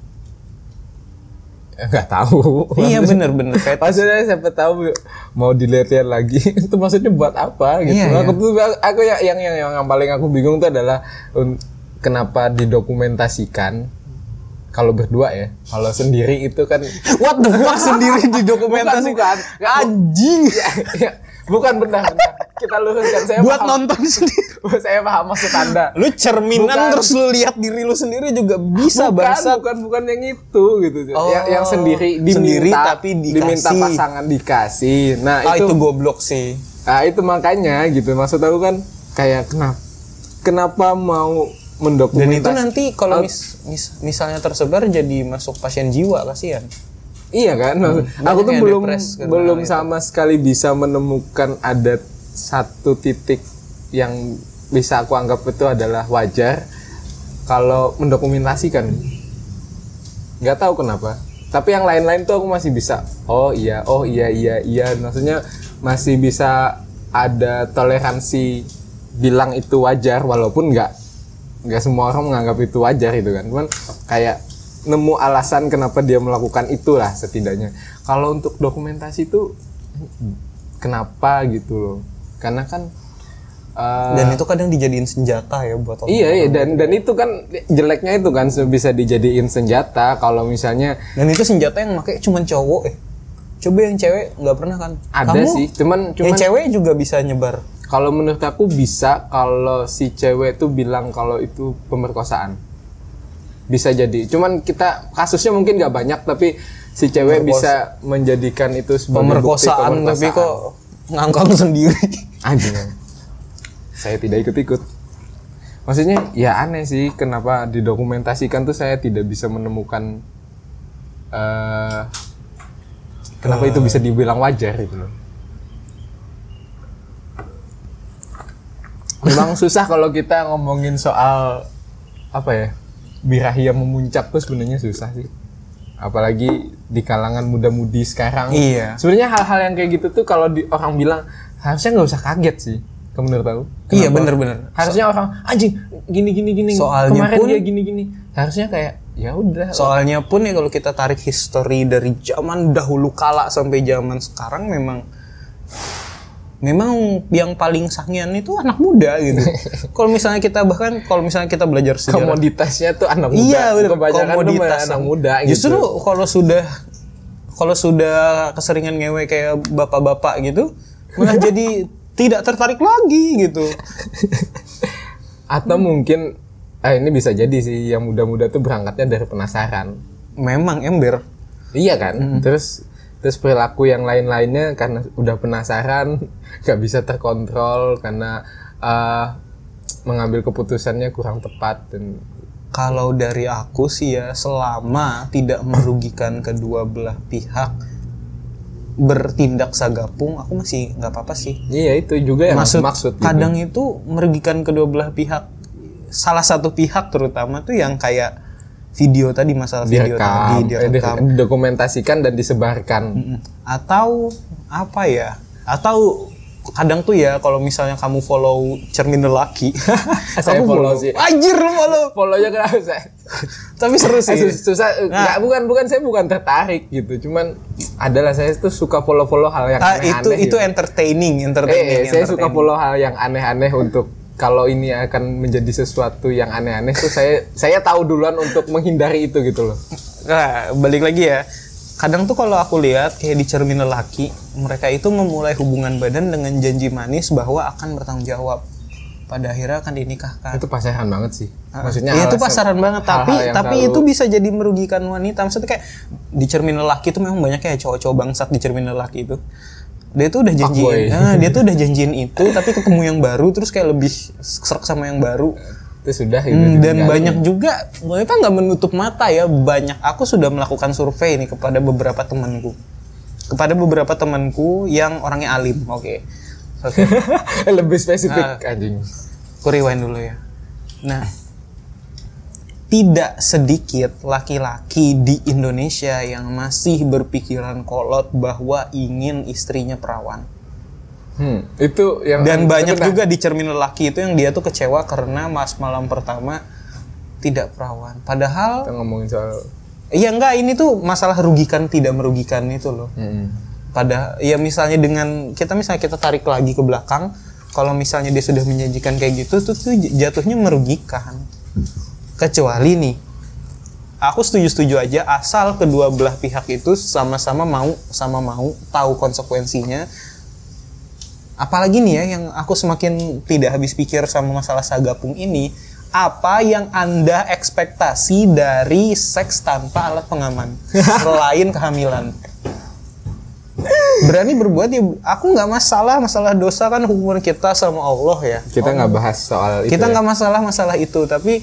Speaker 2: Eh, nggak tahu.
Speaker 1: iya
Speaker 2: Maksudnya-
Speaker 1: bener-bener fetish.
Speaker 2: Maksudnya siapa tahu mau dilihat-lihat lagi itu maksudnya buat apa gitu.
Speaker 1: Iya,
Speaker 2: aku tuh aku ya- yang, yang yang yang paling aku bingung tuh adalah un- kenapa didokumentasikan kalau berdua ya. Kalau sendiri itu kan
Speaker 1: What the fuck sendiri di
Speaker 2: bukan
Speaker 1: dokumentasi
Speaker 2: bukan
Speaker 1: anjing
Speaker 2: Ya, ya. bukan bentar, bentar. Kita luruskan saya
Speaker 1: buat
Speaker 2: paham.
Speaker 1: nonton sendiri.
Speaker 2: Saya paham maksud Anda.
Speaker 1: Lu cerminan
Speaker 2: Bukan.
Speaker 1: terus lu lihat diri lu sendiri juga bisa
Speaker 2: bukan,
Speaker 1: bangsat.
Speaker 2: bukan bukan yang itu gitu
Speaker 1: Oh,
Speaker 2: yang, yang sendiri diminta
Speaker 1: sendiri tapi dikasih.
Speaker 2: diminta pasangan dikasih nah
Speaker 1: Ah
Speaker 2: itu
Speaker 1: itu goblok sih.
Speaker 2: Nah, itu makanya gitu. Maksud aku kan kayak kenapa kenapa mau
Speaker 1: Dan
Speaker 2: mendokumentasi
Speaker 1: itu nanti kalau
Speaker 2: Oh,
Speaker 1: mis- mis- misalnya tersebar jadi masuk pasien jiwa kasihan.
Speaker 2: iya kan? Maksud-
Speaker 1: Hmm,
Speaker 2: aku
Speaker 1: banyak
Speaker 2: tuh
Speaker 1: yang
Speaker 2: belum
Speaker 1: depres gitu. karena
Speaker 2: belum
Speaker 1: itu.
Speaker 2: sama sekali bisa menemukan ada satu titik yang bisa aku anggap itu adalah wajar kalau mendokumentasikan. Nggak tahu kenapa. Tapi yang lain-lain tuh aku masih bisa. Oh iya, oh iya iya iya. Maksudnya masih bisa ada toleransi bilang itu wajar walaupun nggak nggak semua orang menganggap itu wajar itu kan cuman kayak nemu alasan kenapa dia melakukan itulah setidaknya kalau untuk dokumentasi itu kenapa gitu loh karena kan eh,
Speaker 1: Dan itu kadang dijadiin senjata ya buat orang.
Speaker 2: iya iya dan dan itu kan jeleknya itu kan bisa dijadiin senjata kalau misalnya
Speaker 1: Dan itu senjata yang pakai cuman cowok eh. Coba yang cewek nggak pernah kan?
Speaker 2: ada
Speaker 1: Kamu-
Speaker 2: sih cuman
Speaker 1: Yang
Speaker 2: cuman
Speaker 1: Ya, cewek juga bisa nyebar.
Speaker 2: kalau menurut aku bisa kalau si cewek tuh bilang kalau itu pemerkosaan bisa jadi cuman kita kasusnya mungkin nggak banyak tapi si cewek bisa menjadikan itu sebagai bukti
Speaker 1: Pemerkosaan, tapi kok ngangkang sendiri.
Speaker 2: Anjing. saya tidak ikut-ikut maksudnya ya aneh sih kenapa didokumentasikan tuh saya tidak bisa menemukan eh kenapa itu bisa dibilang wajar gitu loh memang susah kalau kita ngomongin soal apa ya birahi yang memuncak tuh sebenarnya susah sih apalagi di kalangan muda-mudi sekarang
Speaker 1: Iya.
Speaker 2: sebenarnya hal-hal yang kayak gitu tuh kalau di, orang bilang harusnya nggak usah kaget sih kamu menurut aku
Speaker 1: Iya,
Speaker 2: Kenapa?
Speaker 1: bener-bener.
Speaker 2: harusnya orang anjing gini gini gini
Speaker 1: Soalnya
Speaker 2: kemarin
Speaker 1: pun-
Speaker 2: dia gini gini harusnya kayak ya udah
Speaker 1: Soalnya pun ya kalau kita tarik history dari zaman dahulu kala sampai zaman sekarang memang memang yang paling sangian itu anak muda gitu. kalau misalnya kita bahkan kalau misalnya kita belajar sejarah
Speaker 2: komoditasnya tuh anak muda
Speaker 1: Iya, bener.
Speaker 2: kebanyakan tuh
Speaker 1: Komoditas.
Speaker 2: anak muda
Speaker 1: Justru
Speaker 2: gitu.
Speaker 1: kalau sudah kalau sudah keseringan ngewe kayak bapak-bapak gitu, malah jadi tidak tertarik lagi gitu.
Speaker 2: atau mungkin eh, ini bisa jadi sih yang muda-muda tuh berangkatnya dari penasaran
Speaker 1: Memang ember.
Speaker 2: Iya kan? Terus terus perilaku yang lain-lainnya karena udah penasaran, nggak bisa terkontrol karena eh, mengambil keputusannya kurang tepat dan
Speaker 1: Kalau dari aku sih ya selama tidak merugikan kedua belah pihak bertindak sagapung aku masih nggak apa-apa sih.
Speaker 2: iya itu juga yang
Speaker 1: maksud,
Speaker 2: aku maksud gitu.
Speaker 1: kadang itu merugikan kedua belah pihak salah satu pihak terutama tuh yang kayak video tadi masalah video tadi Hmm.
Speaker 2: direkam, eh,
Speaker 1: direkam Mm.
Speaker 2: di- dokumentasikan dan disebarkan.
Speaker 1: atau apa ya atau kadang tuh ya kalau misalnya kamu follow cermin lelaki
Speaker 2: Saya
Speaker 1: kamu
Speaker 2: follow sih.
Speaker 1: anjir lu follow
Speaker 2: Follow-nya kenapa ya, saya?
Speaker 1: tapi seru
Speaker 2: Eh,
Speaker 1: sih
Speaker 2: sus- susah. eh,
Speaker 1: Nah.
Speaker 2: nggak, bukan bukan saya bukan tertarik gitu. Cuman adalah saya tuh suka follow-follow hal yang
Speaker 1: Ah,
Speaker 2: aneh-aneh.
Speaker 1: itu itu
Speaker 2: gitu.
Speaker 1: entertaining
Speaker 2: Eh, eh,
Speaker 1: entertaining
Speaker 2: saya suka
Speaker 1: entertaining.
Speaker 2: follow hal yang aneh-aneh untuk kalau ini akan menjadi sesuatu yang aneh-aneh tuh saya saya tahu duluan untuk menghindari itu gitu loh.
Speaker 1: Nah, balik lagi ya. Kadang tuh kalau aku lihat kayak di cermin lelaki, mereka itu memulai hubungan badan dengan janji manis bahwa akan bertanggung jawab. Pada akhirnya akan dinikahkan.
Speaker 2: Itu pasaran banget sih.
Speaker 1: Ah.
Speaker 2: Maksudnya
Speaker 1: Iya, itu
Speaker 2: hal-
Speaker 1: pasaran banget,
Speaker 2: hal-hal
Speaker 1: tapi
Speaker 2: yang
Speaker 1: tapi
Speaker 2: terlalu-
Speaker 1: itu bisa jadi merugikan wanita. Maksudnya kayak di cermin lelaki itu memang banyak kayak cowok-cowok bangsat di cermin lelaki itu. Dia tuh udah janjiin,
Speaker 2: Fuckboy.
Speaker 1: ah, dia tuh udah janjiin itu, tapi ketemu yang baru terus kayak lebih serak sama yang baru.
Speaker 2: itu sudah gitu,
Speaker 1: Hmm, dan
Speaker 2: ditinggalin.
Speaker 1: banyak juga mereka nggak menutup mata ya banyak aku sudah melakukan survei ini kepada beberapa temanku kepada beberapa temanku yang orangnya alim oke oke
Speaker 2: lebih spesifik
Speaker 1: Ah.
Speaker 2: anjing.
Speaker 1: aku rewind dulu ya nah tidak sedikit laki-laki di Indonesia yang masih berpikiran kolot bahwa ingin istrinya perawan
Speaker 2: Hmm, itu yang
Speaker 1: dan banyak juga
Speaker 2: sebentar.
Speaker 1: di cermin lelaki itu yang dia tuh kecewa karena mas malam pertama tidak perawan padahal
Speaker 2: Kita ngomongin soal
Speaker 1: Iya enggak ini tuh masalah rugikan tidak merugikan itu loh.
Speaker 2: Mm-mm.
Speaker 1: Pada ya misalnya dengan kita misalnya kita tarik lagi ke belakang, kalau misalnya dia sudah menjanjikan kayak gitu tuh, tuh j- jatuhnya merugikan. Kecuali nih aku setuju-setuju aja asal kedua belah pihak itu sama-sama mau sama mau tahu konsekuensinya. Apalagi nih ya yang aku semakin tidak habis pikir sama masalah sagapung ini, apa yang Anda ekspektasi dari seks tanpa alat pengaman selain kehamilan? Berani berbuat ya, aku nggak masalah masalah dosa kan hubungan kita sama Allah ya.
Speaker 2: Kita nggak bahas soal itu.
Speaker 1: Kita
Speaker 2: ya.
Speaker 1: nggak masalah masalah itu, tapi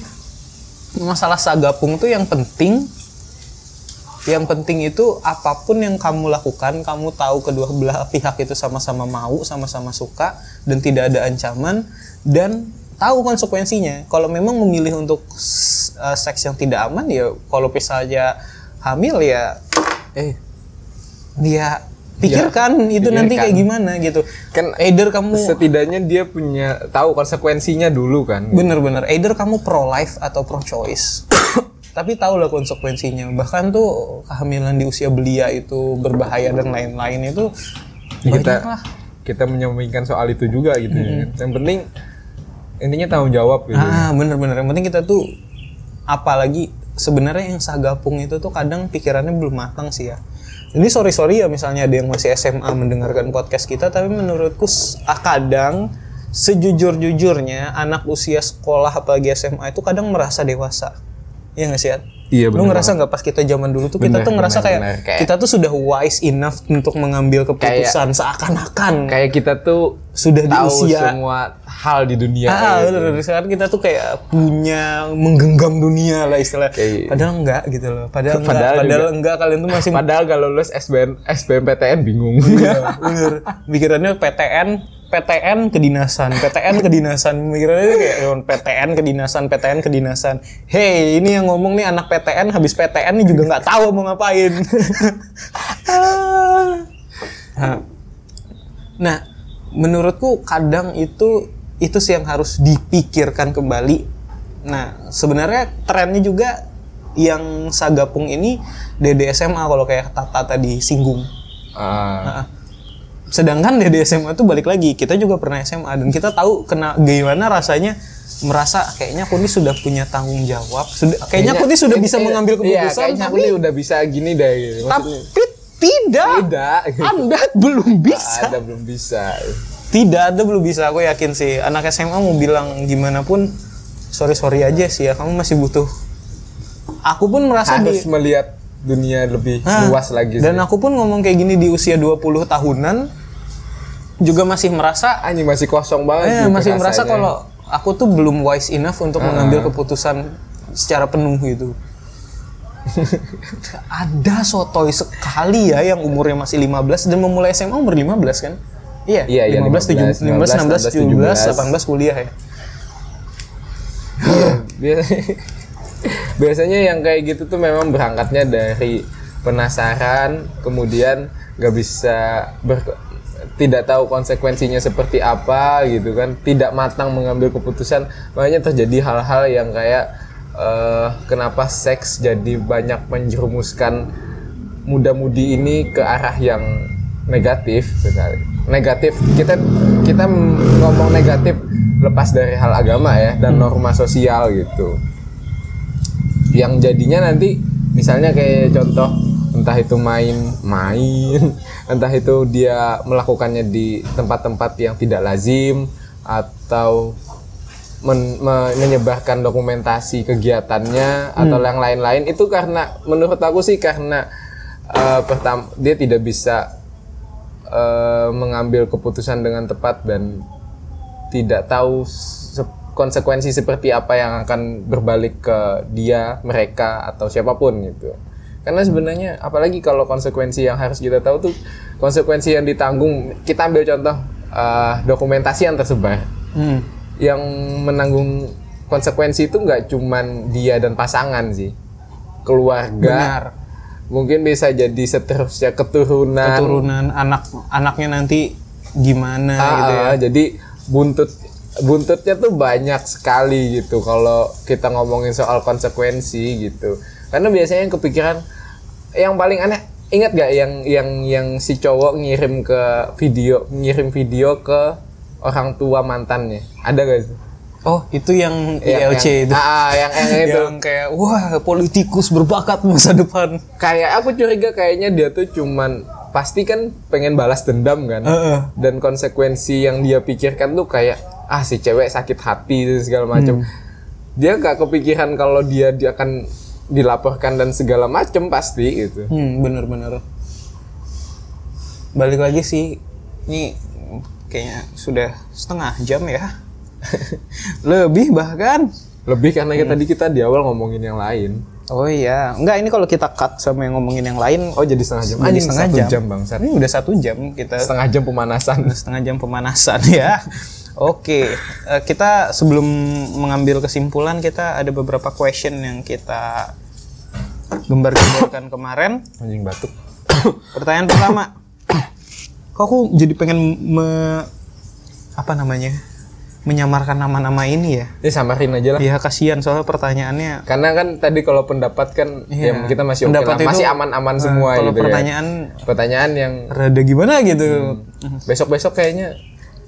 Speaker 1: masalah sagapung tuh yang penting yang penting itu apapun yang kamu lakukan, kamu tahu kedua belah pihak itu sama-sama mau, sama-sama suka dan tidak ada ancaman dan tahu konsekuensinya. Kalau memang memilih untuk s- eh, seks yang tidak aman ya kalau misalnya hamil ya
Speaker 2: eh
Speaker 1: dia pikirkan itu nanti
Speaker 2: Ya, pikirkan.
Speaker 1: kayak gimana gitu.
Speaker 2: Kan-
Speaker 1: either kamu
Speaker 2: setidaknya dia punya tahu konsekuensinya dulu kan.
Speaker 1: Bener-bener, either kamu pro-life atau pro-choice. Tapi tahu lah konsekuensinya. Bahkan tuh kehamilan di usia belia itu berbahaya dan lain-lain itu
Speaker 2: kita
Speaker 1: banyak lah.
Speaker 2: kita menyampaikan soal itu juga gitu ya kan. yang penting intinya tanggung jawab gitu
Speaker 1: Mm-hmm. Ah, bener-bener. Yang penting kita tuh apalagi sebenarnya yang sagapung itu tuh kadang pikirannya belum matang sih ya. Ini sorry-sorry ya misalnya ada yang masih SMA mendengarkan podcast kita, tapi menurutku s- ah, kadang sejujur-jujurnya anak usia sekolah apalagi SMA itu kadang merasa dewasa. Iya nggak sih? Ad?
Speaker 2: Iya,
Speaker 1: Lu
Speaker 2: bener
Speaker 1: ngerasa nggak pas kita zaman dulu tuh
Speaker 2: Bener,
Speaker 1: kita tuh ngerasa
Speaker 2: bener,
Speaker 1: kayak,
Speaker 2: bener. Kayak-
Speaker 1: kita tuh sudah wise enough untuk mengambil keputusan seakan-akan
Speaker 2: kayak kita tuh
Speaker 1: sudah di
Speaker 2: tahu
Speaker 1: usia
Speaker 2: semua hal di dunia
Speaker 1: Ah,
Speaker 2: gitu.
Speaker 1: bener, bener. Sekarang kita tuh kayak punya menggenggam dunia lah istilahnya.
Speaker 2: Kayak-
Speaker 1: Padahal enggak gitu loh. Padahal enggak.
Speaker 2: Padahal
Speaker 1: Padahal,
Speaker 2: juga.
Speaker 1: enggak kalian tuh masih
Speaker 2: padahal gak lulus SBM SBMPTN bingung
Speaker 1: Iya. bener. Pikirannya PTN, PTN kedinasan, PTN kedinasan. Pikirannya tuh kayak "Yon, PTN kedinasan, PTN kedinasan. Hey, ini yang ngomong nih anak PTN habis PTN nih juga nggak tahu mau ngapain. Nah, nah, menurutku kadang itu itu sih yang harus dipikirkan kembali. Nah, sebenarnya trennya juga yang sagapung ini DDSMA kalau kayak Tata tadi singgung.
Speaker 2: Ah,
Speaker 1: Sedangkan dari SMA tuh balik lagi, kita juga pernah SMA dan kita tahu kena gimana rasanya merasa kayaknya aku ini sudah punya tanggung jawab, sudah kayaknya aku ini sudah
Speaker 2: eh,
Speaker 1: bisa
Speaker 2: eh,
Speaker 1: mengambil
Speaker 2: iya,
Speaker 1: keputusan
Speaker 2: kayaknya aku
Speaker 1: tapi
Speaker 2: nih udah bisa gini deh gitu.
Speaker 1: tapi
Speaker 2: Maksudnya,
Speaker 1: tidak.
Speaker 2: tidak
Speaker 1: Anda belum bisa.
Speaker 2: ada belum bisa
Speaker 1: Tidak ada belum bisa, aku yakin sih. Anak SMA mau bilang gimana pun sorry-sorry aja sih ya, kamu masih butuh. Aku pun merasa di-
Speaker 2: harus melihat dunia lebih
Speaker 1: Nah,
Speaker 2: luas lagi
Speaker 1: Dan
Speaker 2: sih.
Speaker 1: aku pun ngomong kayak gini di usia 20 tahunan juga masih merasa
Speaker 2: anjing masih kosong banget
Speaker 1: Eh,
Speaker 2: gitu
Speaker 1: masih merasa
Speaker 2: rasanya.
Speaker 1: kalau aku tuh belum wise enough untuk mengambil keputusan secara penuh gitu. Ada sotoy sekali ya yang umurnya masih 15 dan memulai SMA umur 15 kan? Iya,
Speaker 2: Iya, iya,
Speaker 1: 15, 17, 15, 16, 17, 18 kuliah ya.
Speaker 2: biasanya biasanya yang kayak gitu tuh memang berangkatnya dari penasaran kemudian nggak bisa ber- tidak tahu konsekuensinya seperti apa gitu kan tidak matang mengambil keputusan makanya terjadi hal-hal yang kayak eh, kenapa seks jadi banyak menjerumuskan muda-mudi ini ke arah yang negatif sebenarnya. negatif kita kita ngomong negatif lepas dari hal agama ya dan norma sosial gitu yang jadinya nanti misalnya kayak contoh entah itu main-main entah itu dia melakukannya di tempat-tempat yang tidak lazim atau men- me- menyebarkan dokumentasi kegiatannya atau yang lain-lain itu karena menurut aku sih karena eh, pertam- dia tidak bisa eh, mengambil keputusan dengan tepat dan tidak tahu se- konsekuensi seperti apa yang akan berbalik ke dia, mereka atau siapapun gitu. Karena sebenarnya apalagi kalau konsekuensi yang harus kita tahu tuh konsekuensi yang ditanggung. Kita ambil contoh eh, dokumentasi yang tersebar
Speaker 1: Hmm.
Speaker 2: yang menanggung konsekuensi itu nggak cuman dia dan pasangan sih
Speaker 1: Benar.
Speaker 2: keluarga mungkin bisa jadi seterusnya keturunan,
Speaker 1: Keturunan anak anaknya nanti gimana
Speaker 2: Ah,
Speaker 1: gitu ya.
Speaker 2: ah, jadi buntut buntutnya tuh banyak sekali gitu kalau kita ngomongin soal konsekuensi gitu karena biasanya yang kepikiran yang paling aneh ingat gak yang yang yang si cowok ngirim ke video ngirim video ke orang tua mantannya ada gak sih
Speaker 1: Oh, itu yang
Speaker 2: Yang-
Speaker 1: ILC
Speaker 2: yang-
Speaker 1: E itu.
Speaker 2: Ah, ah, yang, yang itu
Speaker 1: Yang kayak wah, politikus berbakat masa depan.
Speaker 2: kayak aku curiga kayaknya dia tuh cuman pasti kan pengen balas dendam kan
Speaker 1: Heeh.
Speaker 2: dan konsekuensi yang dia pikirkan tuh kayak ah si cewek sakit hati dan segala macam
Speaker 1: Hmm.
Speaker 2: dia nggak kepikiran kalau dia dia akan dilaporkan dan segala macam pasti gitu
Speaker 1: Hmm, bener-bener. Balik lagi sih, ini kayaknya sudah setengah jam ya. Lebih bahkan.
Speaker 2: lebih karena
Speaker 1: Hmm.
Speaker 2: kita tadi kita di awal ngomongin yang lain
Speaker 1: Oh iya, enggak ini kalau kita cut sama yang ngomongin yang lain,
Speaker 2: oh jadi setengah jam
Speaker 1: Jadi
Speaker 2: Anjing,
Speaker 1: setengah
Speaker 2: satu
Speaker 1: jam.
Speaker 2: bang Sat.
Speaker 1: ini udah satu jam kita
Speaker 2: setengah jam pemanasan
Speaker 1: setengah jam pemanasan ya. Oke, eh, kita sebelum mengambil kesimpulan kita ada beberapa question yang kita gembar-gemborkan kemarin.
Speaker 2: anjing batuk
Speaker 1: Pertanyaan pertama, kok aku jadi pengen me, apa namanya menyamarkan nama-nama ini ya?
Speaker 2: ini samarin aja lah
Speaker 1: Ya kasihan soalnya pertanyaannya
Speaker 2: karena kan tadi kalau pendapat kan
Speaker 1: Iya.
Speaker 2: ya kita masih oke
Speaker 1: Pendapat
Speaker 2: lah. masih
Speaker 1: itu,
Speaker 2: aman-aman
Speaker 1: eh,
Speaker 2: semua
Speaker 1: kalau
Speaker 2: gitu ya.
Speaker 1: pertanyaan
Speaker 2: pertanyaan yang
Speaker 1: rada gimana gitu.
Speaker 2: Hmm. besok-besok kayaknya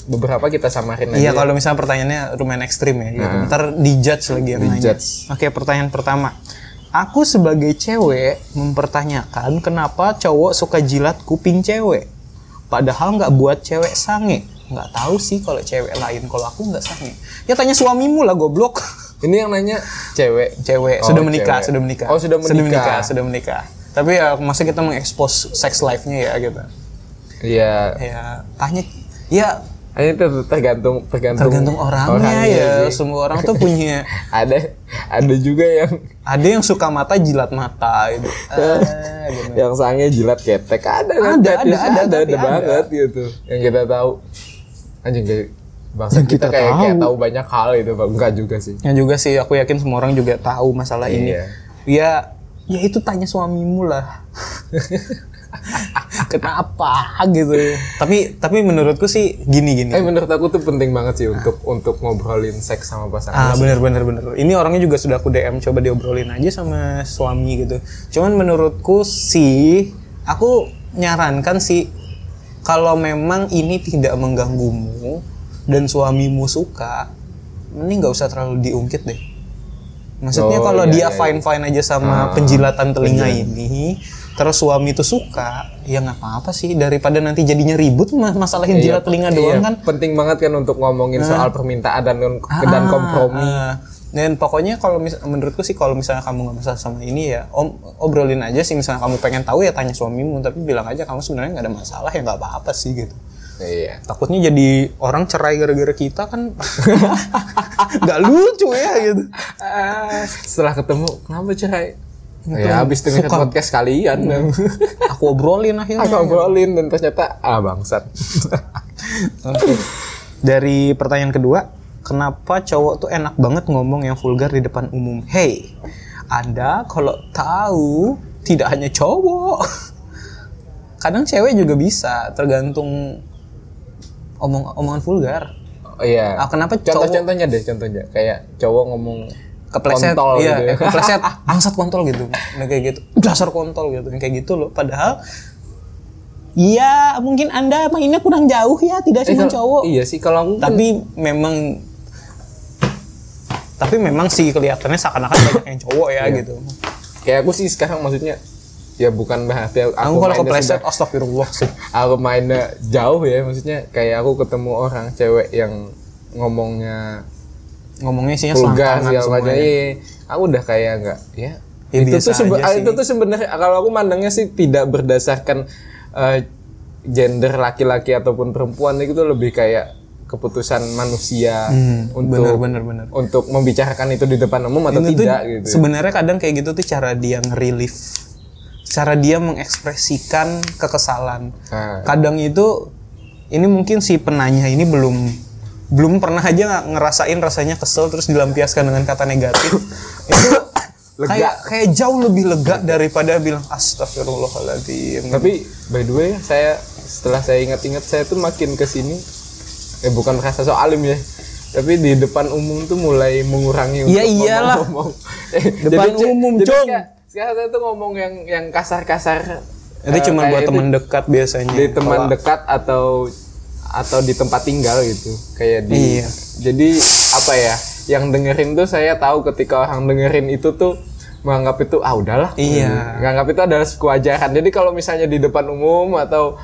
Speaker 2: beberapa kita samarin
Speaker 1: Iya
Speaker 2: aja. ya.
Speaker 1: kalau misalnya pertanyaannya lumayan ekstrim ya, gitu.
Speaker 2: Nah.
Speaker 1: ntar dijudge lagi yang nanya.
Speaker 2: Dijudge.
Speaker 1: Oke pertanyaan pertama, aku sebagai cewek mempertanyakan kenapa cowok suka jilat kuping cewek, padahal nggak buat cewek sange. Nggak tahu sih kalau cewek lain, kalau aku nggak sange. Ya tanya suamimu lah goblok.
Speaker 2: Ini yang nanya cewek.
Speaker 1: Cewek
Speaker 2: Oh,
Speaker 1: sudah menikah,
Speaker 2: cewek.
Speaker 1: sudah menikah.
Speaker 2: Oh, sudah
Speaker 1: Sudah
Speaker 2: menikah.
Speaker 1: menikah, sudah menikah. Tapi ya masa kita mengekspos sex life-nya ya gitu.
Speaker 2: Iya.
Speaker 1: Ya tanya, ya
Speaker 2: Ini tuh tergantung tergantung
Speaker 1: tergantung orangnya, ya.
Speaker 2: sih.
Speaker 1: Semua orang tuh punya
Speaker 2: Ada ada juga yang
Speaker 1: ada yang suka mata jilat mata gitu. Eh, gitu.
Speaker 2: yang sange jilat ketek ada kan?
Speaker 1: Ada,
Speaker 2: Tapi
Speaker 1: ada, ada,
Speaker 2: ada,
Speaker 1: tapi ada.
Speaker 2: banget gitu. Yang kita tahu anjing kayak bangsa
Speaker 1: Yang
Speaker 2: kita,
Speaker 1: kita
Speaker 2: kayak kayak
Speaker 1: tahu.
Speaker 2: tahu banyak hal itu Bang. enggak juga sih.
Speaker 1: yang Ya juga sih aku yakin semua orang juga tahu masalah ini
Speaker 2: Iya.
Speaker 1: ya ya itu tanya suamimu lah kenapa gitu tapi tapi menurutku sih gini gini
Speaker 2: Eh menurut aku tuh penting banget sih untuk untuk ngobrolin seks sama
Speaker 1: ah
Speaker 2: pasangan.
Speaker 1: bener bener bener ini orangnya juga sudah aku DM coba diobrolin aja sama suami gitu cuman menurutku sih aku nyarankan sih kalau memang ini tidak mengganggumu dan suamimu suka mending nggak usah terlalu diungkit deh maksudnya
Speaker 2: Oh,
Speaker 1: kalau
Speaker 2: iya,
Speaker 1: dia
Speaker 2: iya,
Speaker 1: fine fine aja sama
Speaker 2: Ah,
Speaker 1: penjilatan telinga ini terus suami itu suka ya nggak apa apa sih daripada nanti jadinya ribut ma- masalahin
Speaker 2: Iya,
Speaker 1: jilat telinga
Speaker 2: iya,
Speaker 1: doang kan
Speaker 2: penting banget kan untuk ngomongin soal permintaan dan dan
Speaker 1: Ah,
Speaker 2: kompromi.
Speaker 1: ah. dan pokoknya kalau mis- menurutku sih kalau misalnya kamu nggak masalah sama ini ya om obrolin aja sih misalnya kamu pengen tahu ya tanya suamimu tapi bilang aja kamu sebenarnya nggak ada masalah ya nggak apa-apa sih gitu
Speaker 2: Iya.
Speaker 1: takutnya jadi orang cerai gara-gara kita kan nggak lucu ya gitu
Speaker 2: Setelah ketemu, kenapa cerai? Ya habis dengerin
Speaker 1: suka.
Speaker 2: podcast kalian.
Speaker 1: aku obrolin akhirnya
Speaker 2: Aku ngobrolin dan ternyata ah bangsat.
Speaker 1: Oke. Dari pertanyaan kedua, kenapa cowok tuh enak banget ngomong yang vulgar di depan umum? Hey, Anda kalau tahu tidak hanya cowok. Kadang cewek juga bisa, tergantung omong omongan vulgar.
Speaker 2: Oh, iya.
Speaker 1: Ah, kenapa cowok-
Speaker 2: Contoh-contohnya deh, contohnya. Kayak cowok ngomong
Speaker 1: Kepleset,
Speaker 2: kontol
Speaker 1: iya,
Speaker 2: gitu ya.
Speaker 1: kepleset, bangsat kontol gitu. Nah, kayak gitu. Dasar kontol gitu. Yang Kayak gitu loh. Padahal Iya, mungkin Anda mainnya kurang jauh ya, tidak
Speaker 2: Eh,
Speaker 1: cuma
Speaker 2: kalau-
Speaker 1: cowok.
Speaker 2: Iya sih, kalau aku kan-
Speaker 1: tapi memang tapi memang sih kelihatannya seakan-akan banyak yang cowok ya
Speaker 2: Iya.
Speaker 1: gitu.
Speaker 2: kayak aku sih sekarang maksudnya ya bukan berarti aku,
Speaker 1: Aku kalau
Speaker 2: mainnya
Speaker 1: kepleset
Speaker 2: sudah-
Speaker 1: astagfirullah sih.
Speaker 2: aku mainnya jauh ya maksudnya kayak aku ketemu orang cewek yang ngomongnya
Speaker 1: Ngomongnya ya isinya
Speaker 2: vulgar
Speaker 1: selangkangan
Speaker 2: segala macam
Speaker 1: semuanya.
Speaker 2: iya, iya. aku udah kayak nggak ya,
Speaker 1: Ya,
Speaker 2: itu,
Speaker 1: biasa
Speaker 2: tuh sebe-
Speaker 1: aja
Speaker 2: ah,
Speaker 1: sih.
Speaker 2: itu tuh sebenarnya kalau aku mandangnya sih tidak berdasarkan eh, gender laki-laki ataupun perempuan itu tuh lebih kayak keputusan manusia
Speaker 1: Hmm,
Speaker 2: untuk
Speaker 1: benar, benar, benar.
Speaker 2: untuk membicarakan itu di depan umum atau
Speaker 1: Ini tuh
Speaker 2: tidak gitu
Speaker 1: Sebenarnya kadang kayak gitu tuh cara dia nge-relief. Cara dia mengekspresikan kekesalan.
Speaker 2: Ah.
Speaker 1: Kadang itu ini mungkin si penanya ini belum belum pernah aja nggak ngerasain rasanya kesel terus dilampiaskan dengan kata negatif. itu
Speaker 2: Lega.
Speaker 1: kayak kayak jauh lebih lega daripada bilang astagfirullahaladzim.
Speaker 2: Tapi by the way saya setelah saya ingat-ingat saya tuh makin ke sini eh bukan merasa so alim ya. Tapi di depan umum tuh mulai mengurangi
Speaker 1: Ya iyalah.
Speaker 2: ngomong-ngomong. Eh,
Speaker 1: Depan
Speaker 2: ce-
Speaker 1: umum,
Speaker 2: jadi
Speaker 1: Cung.
Speaker 2: kayak- Sekarang saya tuh ngomong yang yang kasar-kasar.
Speaker 1: itu
Speaker 2: eh,
Speaker 1: cuma
Speaker 2: kayak
Speaker 1: buat
Speaker 2: itu
Speaker 1: teman dekat biasanya.
Speaker 2: di teman
Speaker 1: Kalau-
Speaker 2: dekat atau atau di tempat tinggal gitu. Kayak di
Speaker 1: Iya.
Speaker 2: Jadi apa ya? Yang dengerin tuh saya tahu ketika orang dengerin itu tuh menganggap itu ah udahlah
Speaker 1: Iya.
Speaker 2: nganggap itu adalah kewajaran. Jadi kalau misalnya di depan umum atau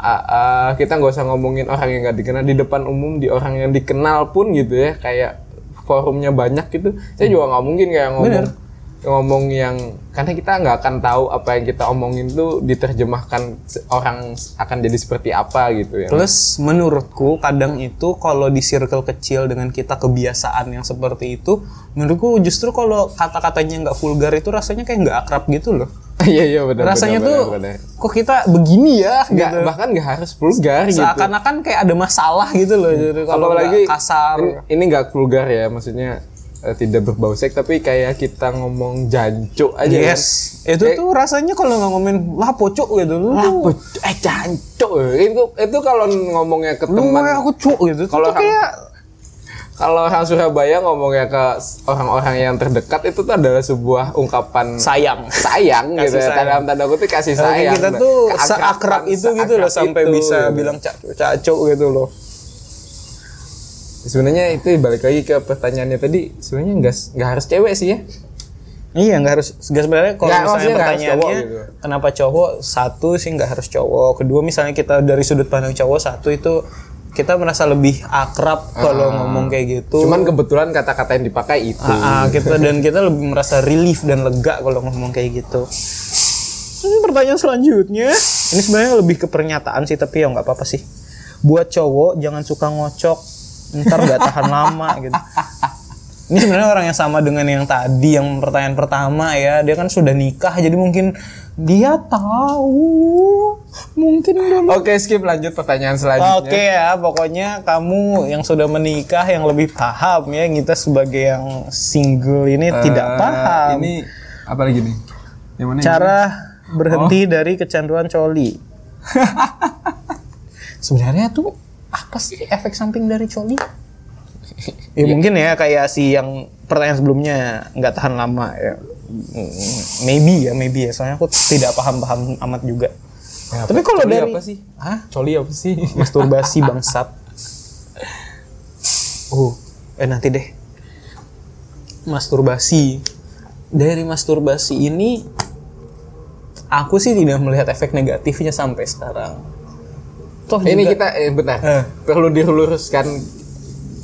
Speaker 2: ah, ah, kita nggak usah ngomongin orang yang nggak dikenal di depan umum di orang yang dikenal pun gitu ya kayak forumnya banyak gitu. Saya
Speaker 1: Hmm.
Speaker 2: juga nggak mungkin kayak ngomong ngomong yang karena kita nggak akan tahu apa yang kita omongin tuh diterjemahkan se- orang akan jadi seperti apa gitu ya.
Speaker 1: Plus menurutku kadang itu kalau di circle kecil dengan kita kebiasaan yang seperti itu, menurutku justru kalau kata-katanya nggak vulgar itu rasanya kayak nggak akrab gitu loh.
Speaker 2: Iya iya benar.
Speaker 1: rasanya
Speaker 2: benar,
Speaker 1: tuh
Speaker 2: benar, benar.
Speaker 1: kok kita begini ya
Speaker 2: Nggak-
Speaker 1: gitu.
Speaker 2: bahkan nggak harus vulgar gitu.
Speaker 1: Seakan-akan kayak ada masalah gitu loh. Jadi kalau lagi
Speaker 2: apalagi
Speaker 1: kasar.
Speaker 2: ini- ini nggak vulgar ya maksudnya eh, tidak berbau seks tapi kayak kita ngomong jancuk aja
Speaker 1: Yes.
Speaker 2: kan?
Speaker 1: Itu
Speaker 2: Kayak,
Speaker 1: tuh rasanya kalau nggak ngomongin lah pocok gitu lu.
Speaker 2: "Ah, bocah, eh jancuk itu itu kalau ngomongnya ke
Speaker 1: Lu
Speaker 2: teman
Speaker 1: kayak aku cuk gitu. Itu
Speaker 2: Kalau Hmm.
Speaker 1: tuh kayak
Speaker 2: kalau orang Surabaya ngomongnya ke orang-orang yang terdekat itu tuh adalah sebuah ungkapan
Speaker 1: sayang.
Speaker 2: sayang
Speaker 1: Kasih
Speaker 2: gitu ya.
Speaker 1: sayang.
Speaker 2: dalam tanda kutip kasih
Speaker 1: Tapi
Speaker 2: sayang
Speaker 1: kita
Speaker 2: Nah,
Speaker 1: tuh
Speaker 2: keakrapan,
Speaker 1: seakrab itu gitu
Speaker 2: seakrab
Speaker 1: loh sampai
Speaker 2: itu,
Speaker 1: bisa
Speaker 2: gitu.
Speaker 1: bilang caco caco gitu loh.
Speaker 2: sebenarnya itu balik lagi ke pertanyaannya tadi sebenarnya nggak nggak harus cewek sih ya
Speaker 1: Iya nggak harus nggak sebenarnya kalau
Speaker 2: Nggak,
Speaker 1: misalnya
Speaker 2: maksudnya nggak harus
Speaker 1: pertanyaannya
Speaker 2: cowok gitu.
Speaker 1: kenapa cowok satu sih nggak harus cowok kedua misalnya kita dari sudut pandang cowok satu itu kita merasa lebih akrab kalau ngomong kayak gitu
Speaker 2: Ah. cuman kebetulan kata-kata yang dipakai itu
Speaker 1: Ah, ah, kita dan kita lebih merasa relief dan lega kalau ngomong kayak gitu ini pertanyaan selanjutnya ini sebenarnya lebih ke pernyataan sih tapi ya nggak apa-apa sih buat cowok jangan suka ngocok ntar nggak tahan lama gitu ini sebenarnya orang yang sama dengan yang tadi yang pertanyaan pertama ya dia kan sudah nikah jadi mungkin dia tahu mungkin dulu
Speaker 2: Oke, skip lanjut pertanyaan selanjutnya.
Speaker 1: Oke ya, pokoknya kamu yang sudah menikah yang lebih paham ya kita sebagai yang single ini
Speaker 2: Eh,
Speaker 1: tidak paham.
Speaker 2: Ini apa lagi nih? Yang mana?
Speaker 1: Cara berhenti dari kecanduan coli. Sebenarnya tuh apa sih efek samping dari coli? Ya, mungkin ya kayak si yang pertanyaan sebelumnya nggak tahan lama ya. Mm, Maybe ya, maybe ya. Soalnya aku tidak paham-paham amat juga.
Speaker 2: Ya, apa-
Speaker 1: Tapi kalau
Speaker 2: coli
Speaker 1: dari
Speaker 2: apa sih?
Speaker 1: Hah?
Speaker 2: Coli apa sih?
Speaker 1: masturbasi bangsat. Oh, eh nanti deh. Masturbasi. Dari masturbasi ini aku sih tidak melihat efek negatifnya sampai sekarang. Toh
Speaker 2: ini
Speaker 1: juga-
Speaker 2: kita eh, bentar.
Speaker 1: Eh.
Speaker 2: Perlu diluruskan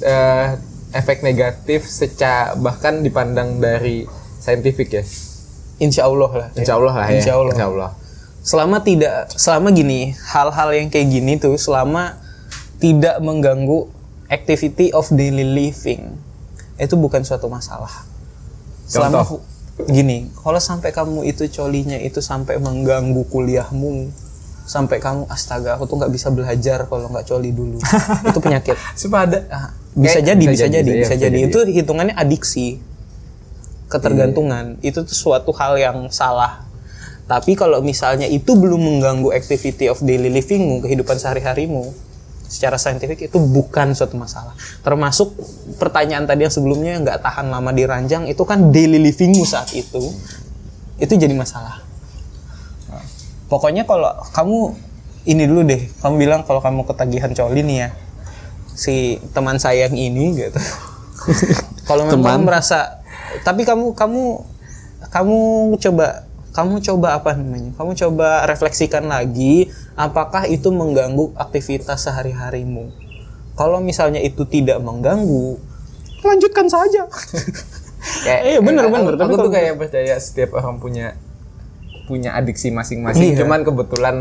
Speaker 2: eh, efek negatif secara bahkan dipandang dari saintifik ya.
Speaker 1: insya Allah lah.
Speaker 2: Insya Allah lah ya.
Speaker 1: Iya. Insya Allah.
Speaker 2: Insya Allah.
Speaker 1: selama tidak selama gini hal-hal yang kayak gini tuh selama tidak mengganggu activity of daily living itu bukan suatu masalah selama hu-
Speaker 2: Contoh?
Speaker 1: gini kalau sampai kamu itu colinya itu sampai mengganggu kuliahmu sampai kamu astaga aku tuh nggak bisa belajar kalau nggak coli dulu itu penyakit
Speaker 2: Cuma ada
Speaker 1: Ah, bisa
Speaker 2: Kayak-
Speaker 1: jadi bisa jadi
Speaker 2: iya,
Speaker 1: bisa jadi itu hitungannya adiksi ketergantungan itu tuh suatu hal yang salah tapi kalau misalnya itu belum mengganggu activity of daily livingmu kehidupan sehari-harimu secara saintifik itu bukan suatu masalah. Termasuk pertanyaan tadi yang sebelumnya yang nggak tahan lama diranjang itu kan daily livingmu saat itu itu jadi masalah. Pokoknya kalau kamu ini dulu deh, kamu bilang kalau kamu ketagihan coli nih ya si teman sayang ini gitu. kalau memang kamu merasa tapi kamu kamu kamu coba kamu coba apa namanya? Kamu coba refleksikan lagi apakah itu mengganggu aktivitas sehari-harimu. Kalau misalnya itu tidak mengganggu, lanjutkan saja.
Speaker 2: Kayak- eh,
Speaker 1: Iya, bener,
Speaker 2: aku-
Speaker 1: bener. Tapi
Speaker 2: Aku, tuh
Speaker 1: kalau-
Speaker 2: kayak percaya setiap orang punya punya adiksi masing-masing.
Speaker 1: Iya.
Speaker 2: Cuman kebetulan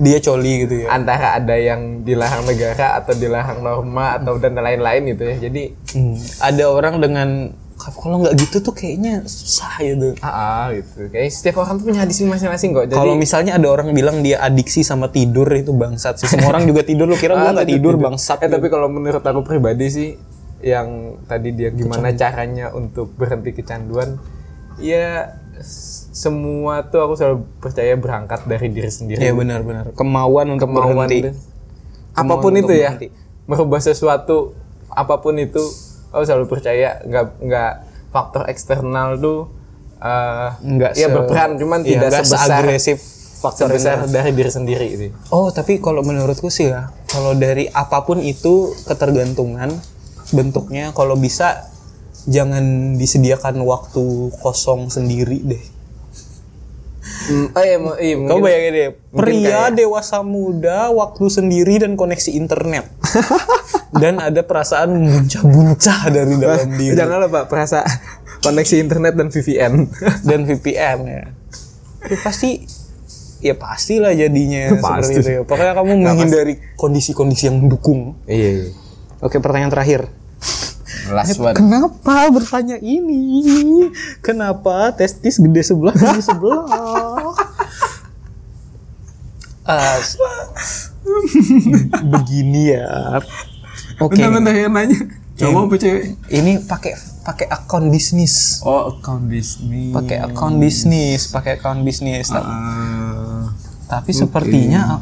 Speaker 1: Dia coli gitu ya.
Speaker 2: antara ada yang dilarang negara atau dilarang norma atau dan lain-lain gitu ya. Jadi
Speaker 1: Hmm. Ada orang dengan kalau nggak gitu tuh kayaknya susah gitu.
Speaker 2: ah, ah, gitu. Kayak setiap orang tuh punya adiksi masing-masing kok. Jadi
Speaker 1: Kalau misalnya ada orang bilang dia adiksi sama tidur itu bangsat sih. Semua orang juga tidur lu kira
Speaker 2: Ah,
Speaker 1: gua nggak
Speaker 2: tetep
Speaker 1: tidur, bangsat. gitu.
Speaker 2: Eh, tapi kalau menurut aku pribadi sih yang tadi dia gimana caranya untuk berhenti kecanduan ya s- semua tuh aku selalu percaya berangkat dari diri sendiri.
Speaker 1: ya benar-benar kemauan untuk
Speaker 2: kemauan
Speaker 1: berhenti.
Speaker 2: tuh. apapun
Speaker 1: Kemauan
Speaker 2: itu
Speaker 1: untuk
Speaker 2: ya
Speaker 1: berhenti.
Speaker 2: merubah sesuatu apapun itu aku selalu percaya nggak nggak faktor eksternal tuh eh,
Speaker 1: Nggak
Speaker 2: ya
Speaker 1: se-
Speaker 2: berperan cuman
Speaker 1: iya,
Speaker 2: tidak
Speaker 1: nggak
Speaker 2: sebesar
Speaker 1: seagresif
Speaker 2: faktor besar dari diri sendiri sih
Speaker 1: Oh, tapi kalau menurutku sih ya, kalau dari apapun itu ketergantungan bentuknya kalau bisa jangan disediakan waktu kosong sendiri deh.
Speaker 2: oh iya, mu- iya,
Speaker 1: Kamu
Speaker 2: mungkin-
Speaker 1: Hmm. bayangin deh,
Speaker 2: mungkin
Speaker 1: pria
Speaker 2: kayak-
Speaker 1: dewasa muda waktu sendiri dan koneksi internet. dan ada perasaan muncah-muncah dari dalam diri
Speaker 2: janganlah pak perasa koneksi internet dan VPN
Speaker 1: dan VPN ya. Ya pasti ya pastilah jadinya
Speaker 2: Pasti.
Speaker 1: seperti itu ya. Pokoknya kamu menghindari kondisi-kondisi yang mendukung.
Speaker 2: iya,
Speaker 1: Oke, pertanyaan terakhir.
Speaker 2: last one
Speaker 1: Kenapa bertanya ini? Kenapa testis gede sebelah gede sebelah? Ah, s- begini ya. Oke.
Speaker 2: yang nanya
Speaker 1: Cowok
Speaker 2: apa cewek
Speaker 1: Ini pakai pakai akun bisnis.
Speaker 2: oh account bisnis
Speaker 1: Pakai akun bisnis, pakai akun bisnis. Ta-
Speaker 2: Eh,
Speaker 1: Tapi sepertinya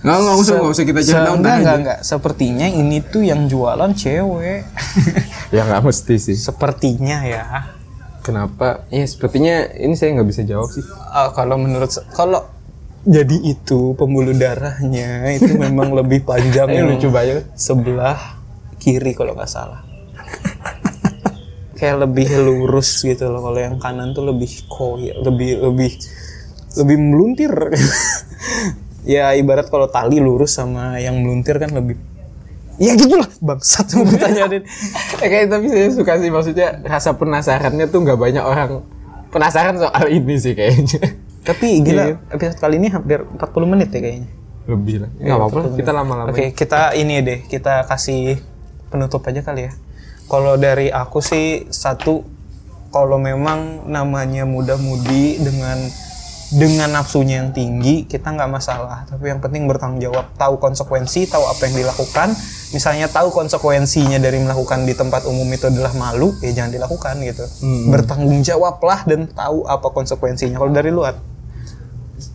Speaker 2: nggak nggak usah nggak usah kita
Speaker 1: Se-
Speaker 2: cari
Speaker 1: enggak, enggak, enggak. Sepertinya ini tuh yang jualan cewek.
Speaker 2: ya nggak mesti sih
Speaker 1: Sepertinya ya.
Speaker 2: Kenapa? Ya sepertinya ini saya nggak bisa jawab sih.
Speaker 1: Ah, kalau menurut se- kalau jadi itu pembuluh darahnya itu memang lebih panjang
Speaker 2: Ini
Speaker 1: yang
Speaker 2: lucu banget.
Speaker 1: sebelah kiri kalau nggak salah. Kayak lebih lurus gitu loh. Kalau yang kanan tuh lebih koyak, lebih lebih lebih meluntir. ya ibarat kalau tali lurus sama yang meluntir kan lebih Ya gitulah bangsat pertanyaan ini.
Speaker 2: Eh, kayak tapi saya suka sih maksudnya rasa penasarannya tuh nggak banyak orang penasaran soal ini sih kayaknya.
Speaker 1: Tapi gila,
Speaker 2: Iya.
Speaker 1: episode kali ini hampir 40 menit ya kayaknya.
Speaker 2: Lebih lah. Nggak apa-apa. Kita lama-lama.
Speaker 1: Oke, kita ini deh, kita kasih penutup aja kali ya. Kalau dari aku sih satu, kalau memang namanya muda-mudi dengan dengan nafsunya yang tinggi, kita nggak masalah. Tapi yang penting bertanggung jawab, tahu konsekuensi, tahu apa yang dilakukan. Misalnya tahu konsekuensinya dari melakukan di tempat umum itu adalah malu, ya jangan dilakukan gitu.
Speaker 2: Hmm.
Speaker 1: Bertanggung jawablah dan tahu apa konsekuensinya. Kalau dari luar,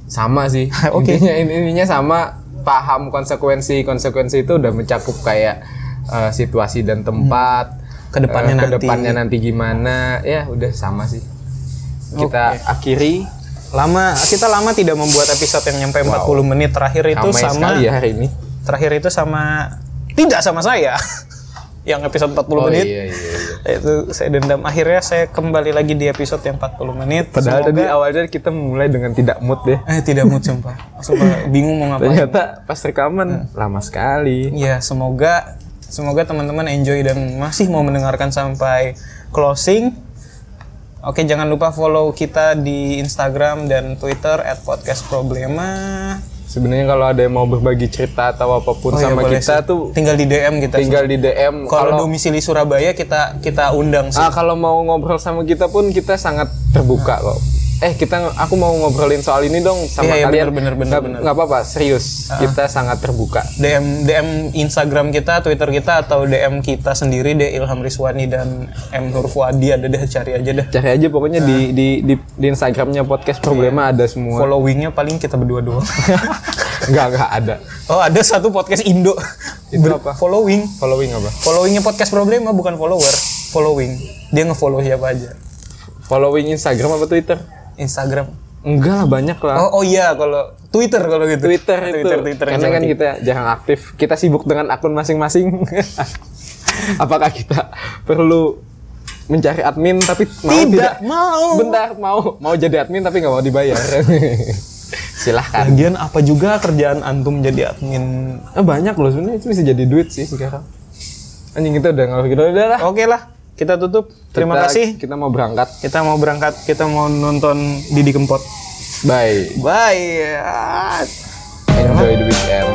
Speaker 2: Sama sih.
Speaker 1: Oke.
Speaker 2: Intinya intinya sama paham konsekuensi konsekuensi itu udah mencakup kayak eh, situasi dan tempat.
Speaker 1: Kedepannya
Speaker 2: eh,
Speaker 1: Hmm. nanti.
Speaker 2: Kedepannya nanti gimana? Ya udah sama sih. Kita akhiri.
Speaker 1: lama kita lama tidak membuat episode yang nyampe 40 menit terakhir itu
Speaker 2: Ramai
Speaker 1: sama
Speaker 2: sekali ya hari ini.
Speaker 1: terakhir itu sama tidak sama saya yang episode 40
Speaker 2: Oh
Speaker 1: menit
Speaker 2: iya iya. iya.
Speaker 1: itu saya dendam akhirnya saya kembali lagi di episode yang 40 menit Semoga-
Speaker 2: Padahal tadi awalnya kita memulai dengan tidak mood deh.
Speaker 1: eh tidak mood sumpah sumpah bingung mau ngapain
Speaker 2: Ternyata pas
Speaker 1: Hmm.
Speaker 2: rekaman lama sekali.
Speaker 1: ya semoga semoga teman-teman enjoy dan masih mau mendengarkan sampai closing Oke, jangan lupa follow kita di Instagram dan Twitter @podcastproblema.
Speaker 2: Sebenarnya kalau ada yang mau berbagi cerita atau
Speaker 1: Oh
Speaker 2: apapun
Speaker 1: iya,
Speaker 2: sama
Speaker 1: boleh
Speaker 2: kita
Speaker 1: sih.
Speaker 2: tuh
Speaker 1: tinggal di DM kita.
Speaker 2: tinggal di DM.
Speaker 1: kalau domisili Surabaya kita kita undang sih.
Speaker 2: ah, kalau mau ngobrol sama kita pun kita sangat terbuka kok. eh kita aku mau ngobrolin soal ini dong
Speaker 1: Iya,
Speaker 2: sama
Speaker 1: iya, bener,
Speaker 2: kalian.
Speaker 1: bener, bener,
Speaker 2: Nggak-
Speaker 1: bener. Ah.
Speaker 2: nggak apa-apa, serius. Kita sangat terbuka.
Speaker 1: DM DM Instagram kita, Twitter kita atau DM kita sendiri deh Ilham Rizwani dan M Nurfuadi ada deh cari aja deh.
Speaker 2: Cari aja pokoknya di
Speaker 1: Ah.
Speaker 2: di di, di Instagramnya podcast
Speaker 1: Iya.
Speaker 2: problema ada semua.
Speaker 1: Followingnya paling kita berdua doang.
Speaker 2: Nggak nggak ada.
Speaker 1: oh ada satu podcast Indo.
Speaker 2: Itu
Speaker 1: Ber-
Speaker 2: apa?
Speaker 1: Following.
Speaker 2: Following apa?
Speaker 1: Followingnya podcast problema bukan follower. Following. Dia ngefollow siapa aja.
Speaker 2: Following Instagram apa Twitter?
Speaker 1: Instagram.
Speaker 2: Enggak lah banyak lah.
Speaker 1: Oh, oh iya kalau Twitter kalau gitu.
Speaker 2: Twitter, itu.
Speaker 1: Twitter, Twitter.
Speaker 2: Karena
Speaker 1: jangan
Speaker 2: kan kita jarang aktif. Kita sibuk dengan akun masing-masing. Apakah kita perlu mencari admin tapi mau
Speaker 1: Tidak,
Speaker 2: tidak?
Speaker 1: mau.
Speaker 2: Bentar, mau mau jadi admin tapi nggak mau dibayar. Silahkan.
Speaker 1: Lagian apa juga kerjaan antum jadi admin?
Speaker 2: Eh, banyak loh sebenarnya itu bisa jadi duit sih sekarang. Anjing kita udah ngalah gitu udah lah.
Speaker 1: Oke lah, kita tutup. Terima
Speaker 2: Kita-
Speaker 1: kasih.
Speaker 2: Kita mau berangkat.
Speaker 1: Kita mau berangkat, kita mau nonton Didi Kempot.
Speaker 2: Bye.
Speaker 1: Bye.
Speaker 2: Enjoy the weekend.